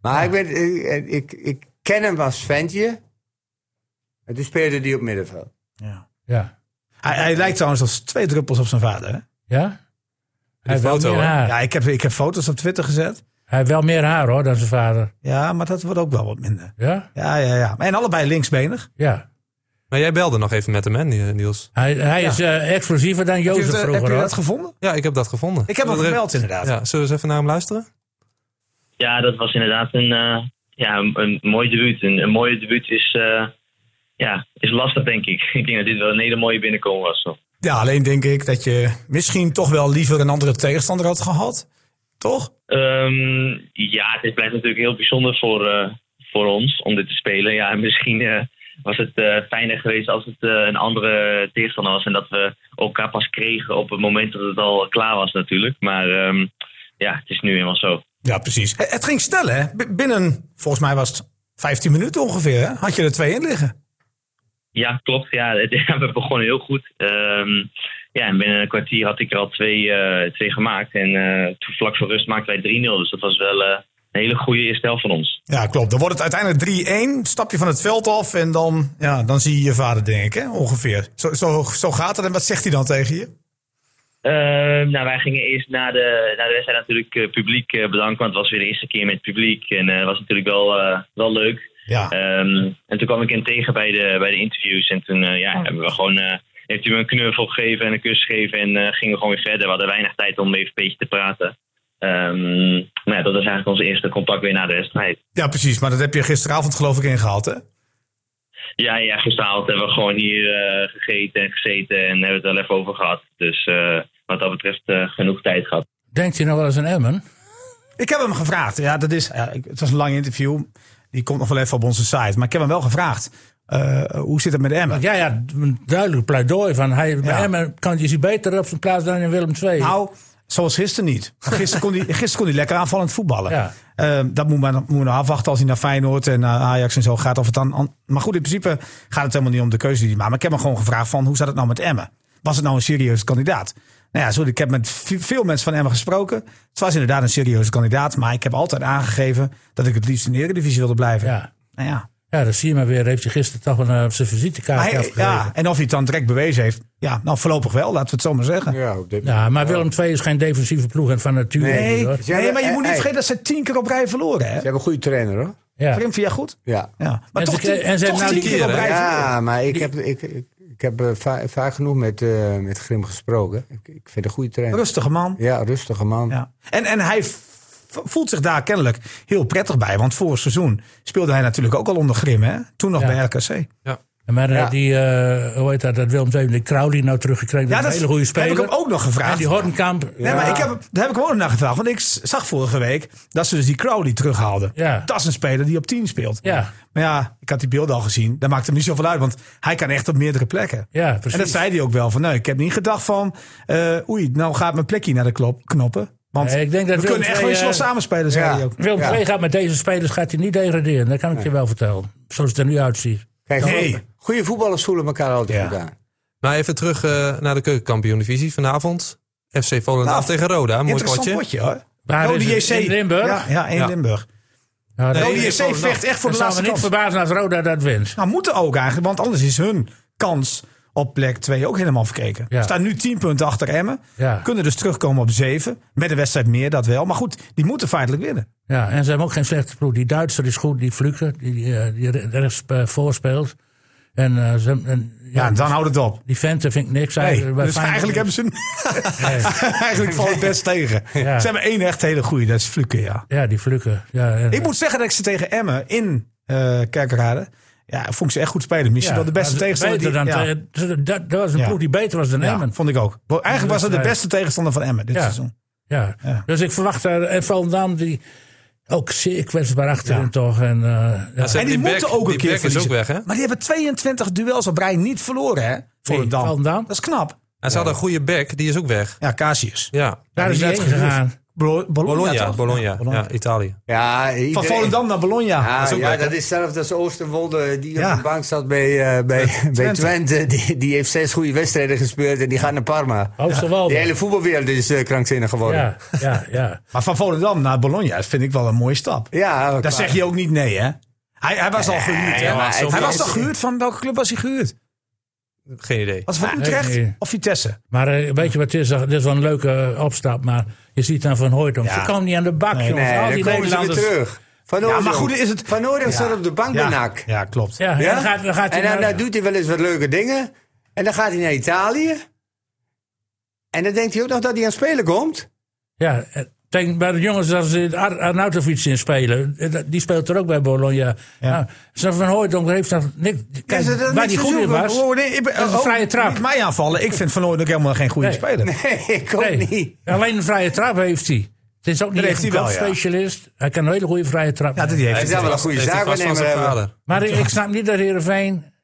S4: Maar Ik, weet, ik, ik, ik ken hem als ventje. En toen speelde hij op middenveld.
S2: ja.
S5: Hij, hij lijkt trouwens als twee druppels op zijn vader. Hè?
S2: Ja? Hij heeft wel
S1: foto,
S2: meer
S1: hè?
S2: haar.
S5: Ja, ik heb, ik heb foto's op Twitter gezet.
S2: Hij heeft wel meer haar hoor, dan zijn vader.
S5: Ja, maar dat wordt ook wel wat minder.
S2: Ja?
S5: Ja, ja, ja. En allebei linksbenig.
S2: Ja.
S1: Maar jij belde nog even met hem, hè, Niels?
S2: Hij, hij is eh, explosiever dan
S5: Heb je,
S2: Jozef
S5: het, eh, heb
S2: vroeger
S5: je
S2: hoor.
S5: dat gevonden?
S1: Ja, ik heb dat gevonden.
S5: Ik heb hem
S1: Wil er-
S5: gebeld inderdaad.
S1: Ja, zullen we eens even naar hem luisteren?
S11: ja, dat was inderdaad een, eh, ja, een, een mooi debuut. Een, een mooie debuut is, eh, ja, is lastig, denk ik. Ik denk dat dit wel een hele mooie binnenkomen was. Toch?
S5: Ja, alleen denk ik dat je misschien toch wel liever een andere tegenstander had gehad. Toch?
S11: Ehm, ja, het blijft natuurlijk heel bijzonder voor, eh, voor ons om dit te spelen. Ja, en misschien eh, was het eh, fijner geweest als het eh, een andere tegenstander was. En dat we elkaar pas kregen op het moment dat het al klaar was natuurlijk. Maar ehm, ja, het is nu helemaal zo.
S5: Ja, precies. Het, het ging snel, hè? B- binnen, volgens mij was het 15 minuten ongeveer, hè? Had je er twee in liggen.
S11: Ja, klopt. Ja, het- ja, we begonnen heel goed. Ehm, ja, en binnen een kwartier had ik er al twee, eh, twee gemaakt. En eh, toen vlak voor rust maakten wij 3-0. Dus dat was wel eh, een hele goede eerste helft van ons.
S5: Ja, klopt. Dan wordt het uiteindelijk 3-1. Stap je van het veld af en dan, ja, dan zie je je vader, denk ik, hè? Ongeveer. Zo, zo, zo gaat het. En wat zegt hij dan tegen je?
S11: Ehm, nou, wij gingen eerst na de, na de wedstrijd natuurlijk eh, publiek eh, bedanken. Want het was weer de eerste keer met publiek. En eh, het was natuurlijk wel, eh, wel leuk.
S5: Ja.
S11: Ehm, en toen kwam ik hem tegen bij de, bij de interviews. En toen eh, ja, hebben we gewoon, eh, heeft hij me een knuffel gegeven en een kus gegeven. En eh, gingen we gewoon weer verder. We hadden weinig tijd om even een beetje te praten. Ehm, maar ja, dat was eigenlijk ons eerste contact weer na de wedstrijd.
S5: Ja, precies. Maar dat heb je gisteravond geloof ik ingehaald, hè?
S11: Ja, ja, gisteravond hebben we gewoon hier eh, gegeten en gezeten. En hebben het wel even over gehad. Dus eh, wat dat betreft eh, genoeg tijd gehad.
S2: Denkt hij nog nou wel eens aan Emmen?
S5: Ik heb hem gevraagd. Ja, dat is, ja, ik- het was een lang interview. Die komt nog wel even op onze site. Maar ik heb hem wel gevraagd. eh, hoe zit het met Emmen?
S2: Ja, ja, een duidelijk pleidooi van hij, bij Emmen kan je zich beter op zijn plaats dan in Willem II.
S5: Nou, zoals gisteren niet. Gisteren kon hij, gisteren kon hij lekker aanvallend voetballen.
S2: Ja.
S5: Eh, dat moet maar, moet maar afwachten als hij naar Feyenoord en naar Ajax en zo gaat. Of het dan, an- maar goed, in principe gaat het helemaal niet om de keuze die hij maakt. Maar ik heb hem gewoon gevraagd van, hoe zat het nou met Emmen? Was het nou een serieus kandidaat? Nou ja, sorry, ik heb met ve- veel mensen van Emmen gesproken. Het was inderdaad een serieuze kandidaat. Maar ik heb altijd aangegeven dat ik het liefst in de Eredivisie wilde blijven.
S2: Ja.
S5: Nou ja.
S2: ja, dat zie je maar weer. Heeft hij gisteren toch een, eh, zijn visitekaart
S5: Maar hij-
S2: afgegeven.
S5: ja,
S2: Ja.
S5: en of hij het dan direct bewezen heeft. Ja, nou voorlopig wel, laten we het zo maar zeggen.
S4: Ja, op dit
S2: maar Willem II is geen defensieve ploeg en van nature. niet,
S5: Nee,
S2: hoor.
S5: nee, maar je moet niet
S4: Hey.
S5: vergeten dat ze tien keer op rij verloren. Hè?
S4: Ze hebben een goede trainer, hoor.
S2: Ja.
S5: Prim, vind jij goed?
S4: Ja.
S5: Ja, maar
S2: En
S5: toch,
S2: ze- en ze
S5: toch
S2: hebben nou die
S5: tien keer op
S1: keren,
S5: rij verloren.
S4: Ja, maar ik heb, ik, ik, ik heb eh, va- vaak genoeg met, eh, met Grim gesproken. Ik, ik vind een goede trainer.
S5: Rustige man.
S4: Ja, rustige man.
S5: Ja. En, en hij v- voelt zich daar kennelijk heel prettig bij. Want vorig seizoen speelde hij natuurlijk ook al onder Grim. Hè? Toen nog
S2: Ja.
S5: bij RKC.
S2: Maar eh,
S4: Ja.
S2: die, eh, hoe heet dat, dat Willem II, die Crowley nou teruggekregen. dat is een hele goede speler.
S5: heb ik hem ook nog gevraagd.
S2: En die Hortenkamp.
S5: Nee, maar ik heb, hem- daar heb ik hem ook nog naar gevraagd. Want ik s- zag vorige week dat ze dus die Crowley terughaalden.
S2: Ja.
S5: Dat is een speler die op 10 speelt.
S2: Ja.
S5: Maar ja, ik had die beelden al gezien. Dat maakt hem niet zoveel uit. Want hij kan echt op meerdere plekken.
S2: Ja, precies.
S5: En dat zei hij ook wel. Van, nee, ik heb niet gedacht van... eh, oei, nou gaat mijn plekje naar de klop, knoppen. Want
S2: Nee, ik denk dat
S5: we
S2: Willem
S5: kunnen echt
S2: II,
S5: wel eens wel
S2: eh,
S5: samenspelen, zei
S4: ja.
S5: hij ook.
S2: Willem
S4: Ja.
S2: II gaat met deze spelers gaat hij niet degraderen. Dat kan ik je wel vertellen. Zoals het er nu uitziet.
S4: Kijk,
S5: Nee.
S4: goede- goede voetballers voelen elkaar altijd
S5: Ja.
S4: goed aan.
S1: Maar even terug eh, naar de keukenkampioen-divisie vanavond. FC Volendam
S5: Nou,
S1: tegen Roda, mooi
S5: Interessant
S1: potje.
S5: potje hoor.
S2: Waar
S5: Rode
S2: is het?
S5: JC.
S2: In Limburg?
S5: Ja, ja in
S1: Ja.
S5: Limburg.
S2: Nou, dat-
S5: Rode JC vecht echt voor de
S2: Het zou me
S5: laatste
S2: niet
S5: kans.
S2: verbazen als Roda dat wint.
S5: Nou, moeten ook eigenlijk, want anders is hun kans op plek 2 ook helemaal verkeken.
S2: Ja.
S5: We staan nu 10 punten achter Emmen.
S2: Ja.
S5: Kunnen dus terugkomen op 7. Met een wedstrijd meer, dat wel. Maar goed, die moeten feitelijk winnen.
S2: Ja, en ze hebben ook geen slechte ploeg. Die Duitser is goed, die Fluke, die, eh, die rechts eh, voorspeelt. En, eh, ze, hebben- en,
S5: Ja, dan houdt het op.
S2: Die venten vind ik niks.
S5: Nee,
S2: Hij- dus- bij
S5: dus eigenlijk hebben ze... eigenlijk valt het best tegen.
S2: Ja.
S5: Ze hebben één echt hele goede, dat is Fluke, ja.
S2: Ja, die Fluke. Ja, en-
S5: Ik moet zeggen dat ik ze tegen Emmen in eh Kerkrade... Ja, vond ik ze echt goed spelen. Misschien
S2: Ja,
S5: wel de beste
S2: maar
S5: tegenstander.
S2: beter
S5: die-
S2: dan
S5: ja.
S2: te- dat, dat was een
S5: Ja.
S2: ploeg die beter was dan
S5: Ja,
S2: Emmen.
S5: vond ik ook. Wel, Eigenlijk was het de
S2: wedstrijd.
S5: beste tegenstander van Emmen dit
S2: Ja.
S5: seizoen.
S2: Ja.
S5: Ja.
S2: Dus ik verwacht daar. En Volendam, die ook zeer kwetsbaar achterin
S5: Ja.
S2: toch. En, eh, ja.
S1: ze-
S5: En die,
S1: Die Beck-
S5: moeten ook
S1: die
S5: een keer
S1: Beck is
S5: verliezen.
S1: ook weg, hè?
S5: Maar die hebben 22 duels op rij niet verloren, hè? Voor
S2: Nee,
S5: een dam.
S2: Volendam.
S5: Dat is knap.
S1: En ze hadden een goede back, die is ook weg.
S5: Ja, Casius.
S1: Ja,
S2: Daar is
S5: die
S2: hij
S5: werd
S2: heen gegaan.
S5: Bolo- Bologna.
S1: Bologna,
S5: toch?
S1: Bologna,
S5: Ja, Bologna.
S1: ja, Italië.
S4: Ja,
S5: Van
S4: iedereen-
S5: Volendam naar Bologna.
S4: Ja,
S5: Dat is ook
S4: Ah, ja
S5: leuk, hè?
S4: dat is hetzelfde als Oosterwolde die
S5: Ja.
S4: op de bank zat bij, eh bij, bij
S5: Twente.
S4: Twente. Die, die heeft zes goede wedstrijden gespeeld en die gaat naar
S5: Oh,
S4: Parma.
S2: Oosterwolde.
S4: De hele voetbalwereld is eh, krankzinnig geworden.
S2: Ja,
S4: Ja,
S2: ja, ja.
S5: Maar van Volendam naar Bologna vind ik wel een mooie stap.
S4: maar-
S5: Daar zeg je ook niet nee, hè? Hij, hij was al gehuurd, hè?
S4: maar
S5: hij
S4: het
S5: was,
S4: is-
S5: toch gehuurd? Van welke club was hij gehuurd?
S1: Geen idee.
S5: Was het van Utrecht
S2: nee.
S5: of Vitesse?
S2: Maar eh, weet je wat het is? Dat is wel een leuke eh, opstap. Maar je ziet dan Van Hooydonk.
S5: Ja.
S2: Ze komen niet aan de bak, jongens.
S4: Nee,
S2: Al
S4: dan
S2: die
S4: komen ze weer
S2: Nederlanders.
S4: terug. Van
S5: Ja,
S4: Oordeel.
S5: maar goed is het...
S4: Van Oordeel staat op de bank bij
S5: ja.
S4: NAC.
S5: ja, klopt.
S2: Ja, en
S4: Ja?
S2: dan gaat, dan gaat hij
S4: en dan,
S2: naar-
S4: dan doet hij wel eens wat leuke dingen. En dan gaat hij naar Italië. En dan denkt hij ook nog dat hij aan het spelen komt.
S2: Ja, eh, denk bij de jongens als ze Ar- Arnautovic in spelen. eh, dat- Die speelt er ook bij Bologna. Nou, zo van Hooydonk heeft dat niks. Kijk,
S5: Is het
S2: waar
S5: er niks
S2: die
S5: te
S2: goed in
S5: zoeken?
S2: was.
S5: Oh, nee, ik ben-
S2: dat is een
S5: oh,
S2: vrije trap.
S5: Niet mij aanvallen. Ik vind Van Ooyen ook helemaal geen goede
S2: Nee.
S5: speler.
S4: Nee, ik ook
S2: Nee,
S4: niet.
S2: Alleen een vrije trap heeft hij. Het is ook niet
S5: Dat
S2: echt een
S5: heeft hij wel, ja.
S2: specialist. Hij kan een hele goede vrije trap.
S5: Ja, dat
S2: nemen.
S5: die
S4: Hij
S5: heeft
S4: zou wel een goede
S1: Heeft hij vast van
S4: zaakwaarnemer
S1: zijn
S4: hebben.
S1: vader.
S2: Maar ik, ik snap niet dat Heerenveen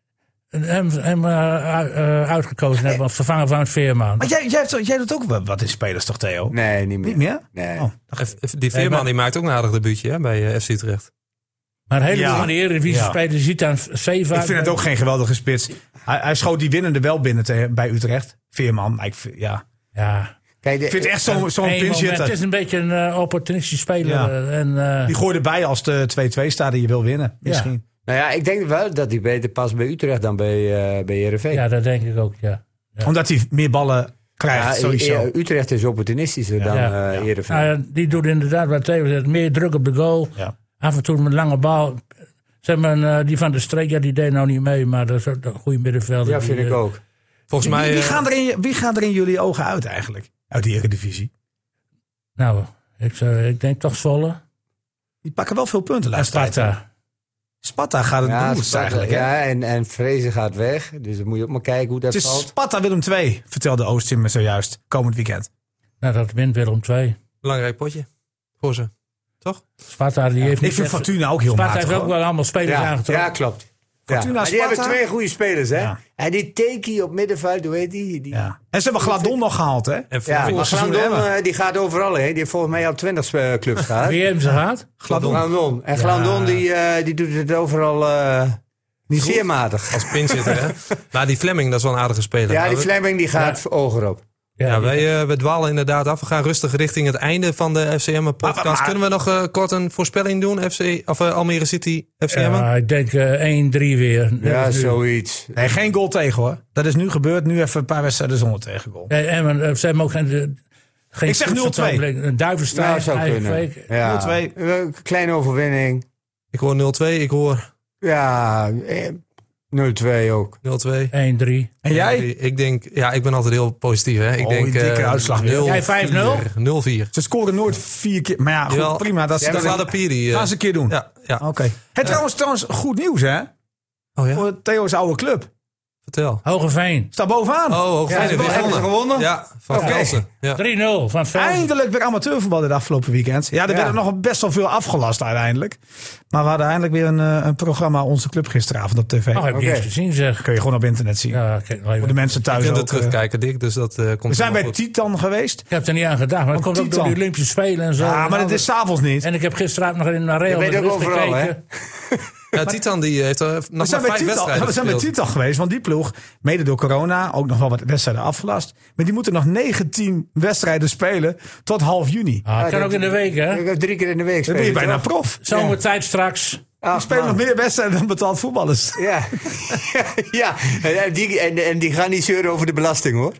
S2: hem, hem eh, u- eh, uitgekozen hebben als vervanger van het Veerman.
S5: Maar jij, jij, hebt, toch- jij doet ook wel wat in spelers toch, Theo?
S4: Nee, niet meer.
S5: Niet meer?
S4: Nee.
S5: Oh.
S1: Die Veerman die maakt ook een aardig debuutje hè, bij eh, FC Utrecht.
S2: Maar een heleboel
S5: Ja.
S2: van de Eredivisie
S5: Ja.
S2: spelers, je ziet dan Seva.
S5: Ik vind het ook geen geweldige spits. Hij, hij schoot die winnende wel binnen te- bij Utrecht. Veerman. Maar ik, vind- ja.
S2: Ja.
S4: Kijk, de-
S5: ik vind het echt zo'n zo'n
S2: Eén moment.
S5: pinch
S2: Het is een beetje een eh, opportunistisch speler.
S5: Ja.
S2: eh, En, eh,
S5: Die gooide bij als de 2-2 staat en je wil winnen. Misschien.
S4: Nou ja, ik denk wel dat hij beter past bij Utrecht dan bij, eh bij Heerenveen.
S2: ja, dat denk ik ook, ja.
S5: Omdat hij meer ballen krijgt,
S4: Ja,
S5: sowieso.
S4: eh, Utrecht is opportunistischer dan eh
S2: Ja.
S4: Heerenveen.
S2: Nou, ja, die doet inderdaad wat Theo zegt. Meer druk op de goal.
S5: Ja.
S2: Af en toe met lange bal. Zeg maar, eh, die van de streek, ja, die deed nou niet mee. Maar dat is ook een goede middenvelder.
S4: ja,
S2: Die,
S4: vind ik
S2: eh,
S4: ook.
S1: Volgens
S5: Wie,
S1: mij...
S5: wie
S1: eh,
S5: gaan er in, wie gaan er in jullie ogen uit eigenlijk? Uit die Eredivisie.
S2: Nou, ik, zou- ik denk toch Zwolle.
S5: Die pakken wel veel punten.
S2: En
S5: laatst.
S2: Sparta.
S5: Sparta gaat het
S4: Ja,
S5: ja,
S4: Sparta-
S5: eigenlijk. hè?
S4: ja en, en Vrezen gaat weg. Dus dan moet je ook maar kijken hoe dat
S5: Het is
S4: valt.
S5: Sparta Willem II, vertelde Oostin me zojuist. Komend weekend.
S2: Nou, dat wint Willem II.
S1: eh, Belangrijk potje voor ze.
S2: Sparta, die heeft niet
S5: Ik vind
S2: echt-
S5: Fortuna ook heel
S2: Sparta
S5: matig.
S2: heeft ook
S5: hoor.
S2: wel allemaal spelers
S4: Ja,
S2: aangetrokken.
S4: ja, klopt. Ja.
S5: Fortuna,
S4: Maar die hebben
S5: Sparta?
S4: twee goede spelers, hè?
S5: Ja.
S4: En die Teki op middenveld, hoe heet die? die
S5: Ja. En ze hebben Gladon nog gehaald, hè?
S1: En voor
S4: Ja,
S1: voor-
S4: maar
S5: seizoen
S4: Glandon,
S5: hebben.
S4: eh, die gaat overal heen. Die heeft volgens mij al twintig eh, clubs gehad.
S2: Wie hebben ze gehad?
S5: Gladon.
S4: Glandon. En Glandon, die, eh, die doet het overal eh zeer matig.
S1: als pinzitter, hè. Maar die Fleming, dat is wel een aardige speler.
S4: Ja,
S1: Nou,
S4: die
S1: we-
S4: Fleming die gaat ogen op.
S1: Ja,
S2: die-
S1: wij, eh, we dwalen inderdaad af. We gaan rustig richting het einde van de FCM-podcast.
S5: Maar- maar-
S1: Kunnen we nog eh, kort een voorspelling doen? FC, of eh, Almere City, FCM?
S2: Ja, ik denk eh, 1-3 weer. Net
S4: Ja,
S2: als nu.
S4: zoiets.
S5: Nee, geen goal tegen hoor. Dat is nu gebeurd. Nu even een paar wedstrijden zonder tegengoal.
S2: Nee, Emmen, eh, ze hebben ook geen... eh, geen
S5: Ik zeg 0-2.
S2: Een duivenstein,
S4: Nou, zou
S2: eigen
S4: kunnen.
S2: week.
S4: Ja.
S5: 0-2.
S4: Een Kleine overwinning.
S1: Ik hoor 0-2, ik hoor
S4: Ja, eh, 0-2 ook.
S1: 0-2.
S2: 1-3.
S5: En jij?
S1: Ik denk, ja, ik ben altijd heel positief. Hè. Ik
S5: Oh,
S1: denk,
S5: een dikke
S1: eh,
S5: uitslag weer.
S1: 0-4.
S2: Jij 5-0?
S1: 0-4.
S5: Ze scoren nooit vier keer. Maar ja, goed,
S1: Jawel.
S5: prima. Dat ze
S1: Dat
S5: dat
S1: is Ladapiri. eh.
S5: gaan ze een keer doen.
S1: Ja, ja.
S5: Oké. Het trouwens, trouwens, goed nieuws hè?
S1: Oh ja,
S5: Voor Theo's oude club.
S1: vertel.
S2: Hogeveen.
S5: Staat bovenaan.
S1: Oh, Hoogveen
S4: Ja,
S1: heeft
S4: hebben ze
S1: gewonnen.
S4: gewonnen?
S1: Ja, van
S4: Oké.
S1: Velsen. Ja.
S2: 3-0 van Velsen.
S5: Eindelijk weer amateurvoetbal dit afgelopen weekend. Ja, er
S4: Ja.
S5: werd er nog best wel veel afgelast uiteindelijk. Maar we hadden eindelijk weer een, eh, een programma Onze Club gisteravond op tv.
S2: Oh, heb je
S4: Oké.
S2: eens gezien zeg.
S5: Kun je gewoon op internet zien.
S2: Ja, kijk, nou,
S5: Voor de mensen
S1: Je
S5: thuis
S1: kunt
S5: ook.
S1: het
S5: eh,
S1: terugkijken, Dick. Dus dat eh, komt
S5: we zijn bij
S1: helemaal goed.
S5: Titan geweest.
S2: ik heb er niet aan gedacht, maar het komt ook door
S5: Titan.
S2: de Olympische Spelen en zo.
S5: Ja,
S2: nou, En
S5: maar dat
S2: alles.
S5: is s'avonds niet.
S2: En ik heb gisteravond nog in een Real
S4: weet ook
S2: Madrid
S4: overal,
S2: gekeken.
S1: Ja, Titan die heeft er
S5: We
S1: nog maar
S5: zijn, bij
S1: vijf
S5: Titan,
S1: wedstrijden
S5: we zijn bij
S1: gespeeld.
S5: Titan geweest, want die ploeg, mede door corona, ook nog wel wat wedstrijden afgelast. Maar die moeten nog 19 wedstrijden spelen tot half juni.
S2: Ah, kan ook in de week, hè?
S4: Ik heb drie keer in de week
S5: Dan ben je
S4: spelen,
S5: bijna
S4: toch?
S5: prof.
S2: Zomertijd straks.
S5: Ik speel
S4: man.
S5: nog meer wedstrijden dan betaald voetballers.
S4: Ja, ja. En, en die, en, en die gaan niet zeuren over de belasting hoor.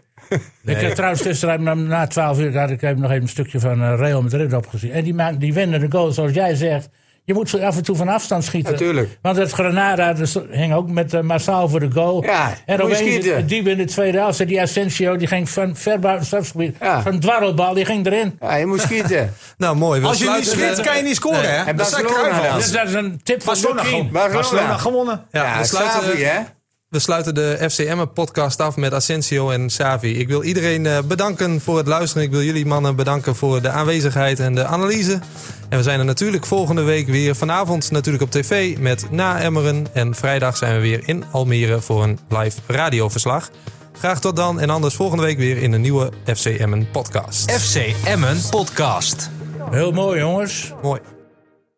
S2: Ik heb trouwens gisteren na- na 12 uur had ik even nog even een stukje van eh, Real Madrid opgezien. En die, maakt, die winnen de goal, zoals jij zegt. Je moet ze af en toe van afstand schieten.
S4: Natuurlijk.
S2: Want het Granada dus, hing ook met eh, Massaal voor de goal.
S4: Ja, moet
S2: en
S4: je
S2: opeens
S4: schieten.
S2: diep in de tweede helft. zit Die Asensio die ging van ver buiten het strafgebied.
S4: Ja.
S2: Van dwarrelbal, die ging erin.
S4: Ja, je moet schieten.
S1: Nou, mooi. We
S5: Als je niet
S1: sluiten, eh,
S5: schiet, kan je niet scoren, hè?
S4: En
S5: dat zijn
S4: Barcelona
S5: kruifels.
S4: dan?
S2: Dus dat is een tip van
S5: Barcelona,
S2: Joaquin.
S5: gewoon.
S4: Barcelona.
S5: Barcelona gewonnen.
S1: Ja,
S4: Ja,
S1: we, sluiten,
S4: Xavi, hè?
S1: we sluiten de FCM-podcast af met Asensio en Savi. Ik wil iedereen eh, bedanken voor het luisteren. Ik wil jullie mannen bedanken voor de aanwezigheid en de analyse. En we zijn er natuurlijk volgende week weer. Vanavond natuurlijk op tv met Na Emmeren. En vrijdag zijn we weer in Almere voor een live radioverslag. Graag tot dan en anders volgende week weer in een nieuwe FCM-podcast.
S3: FC Emmen Podcast.
S2: Heel mooi, jongens.
S1: Mooi.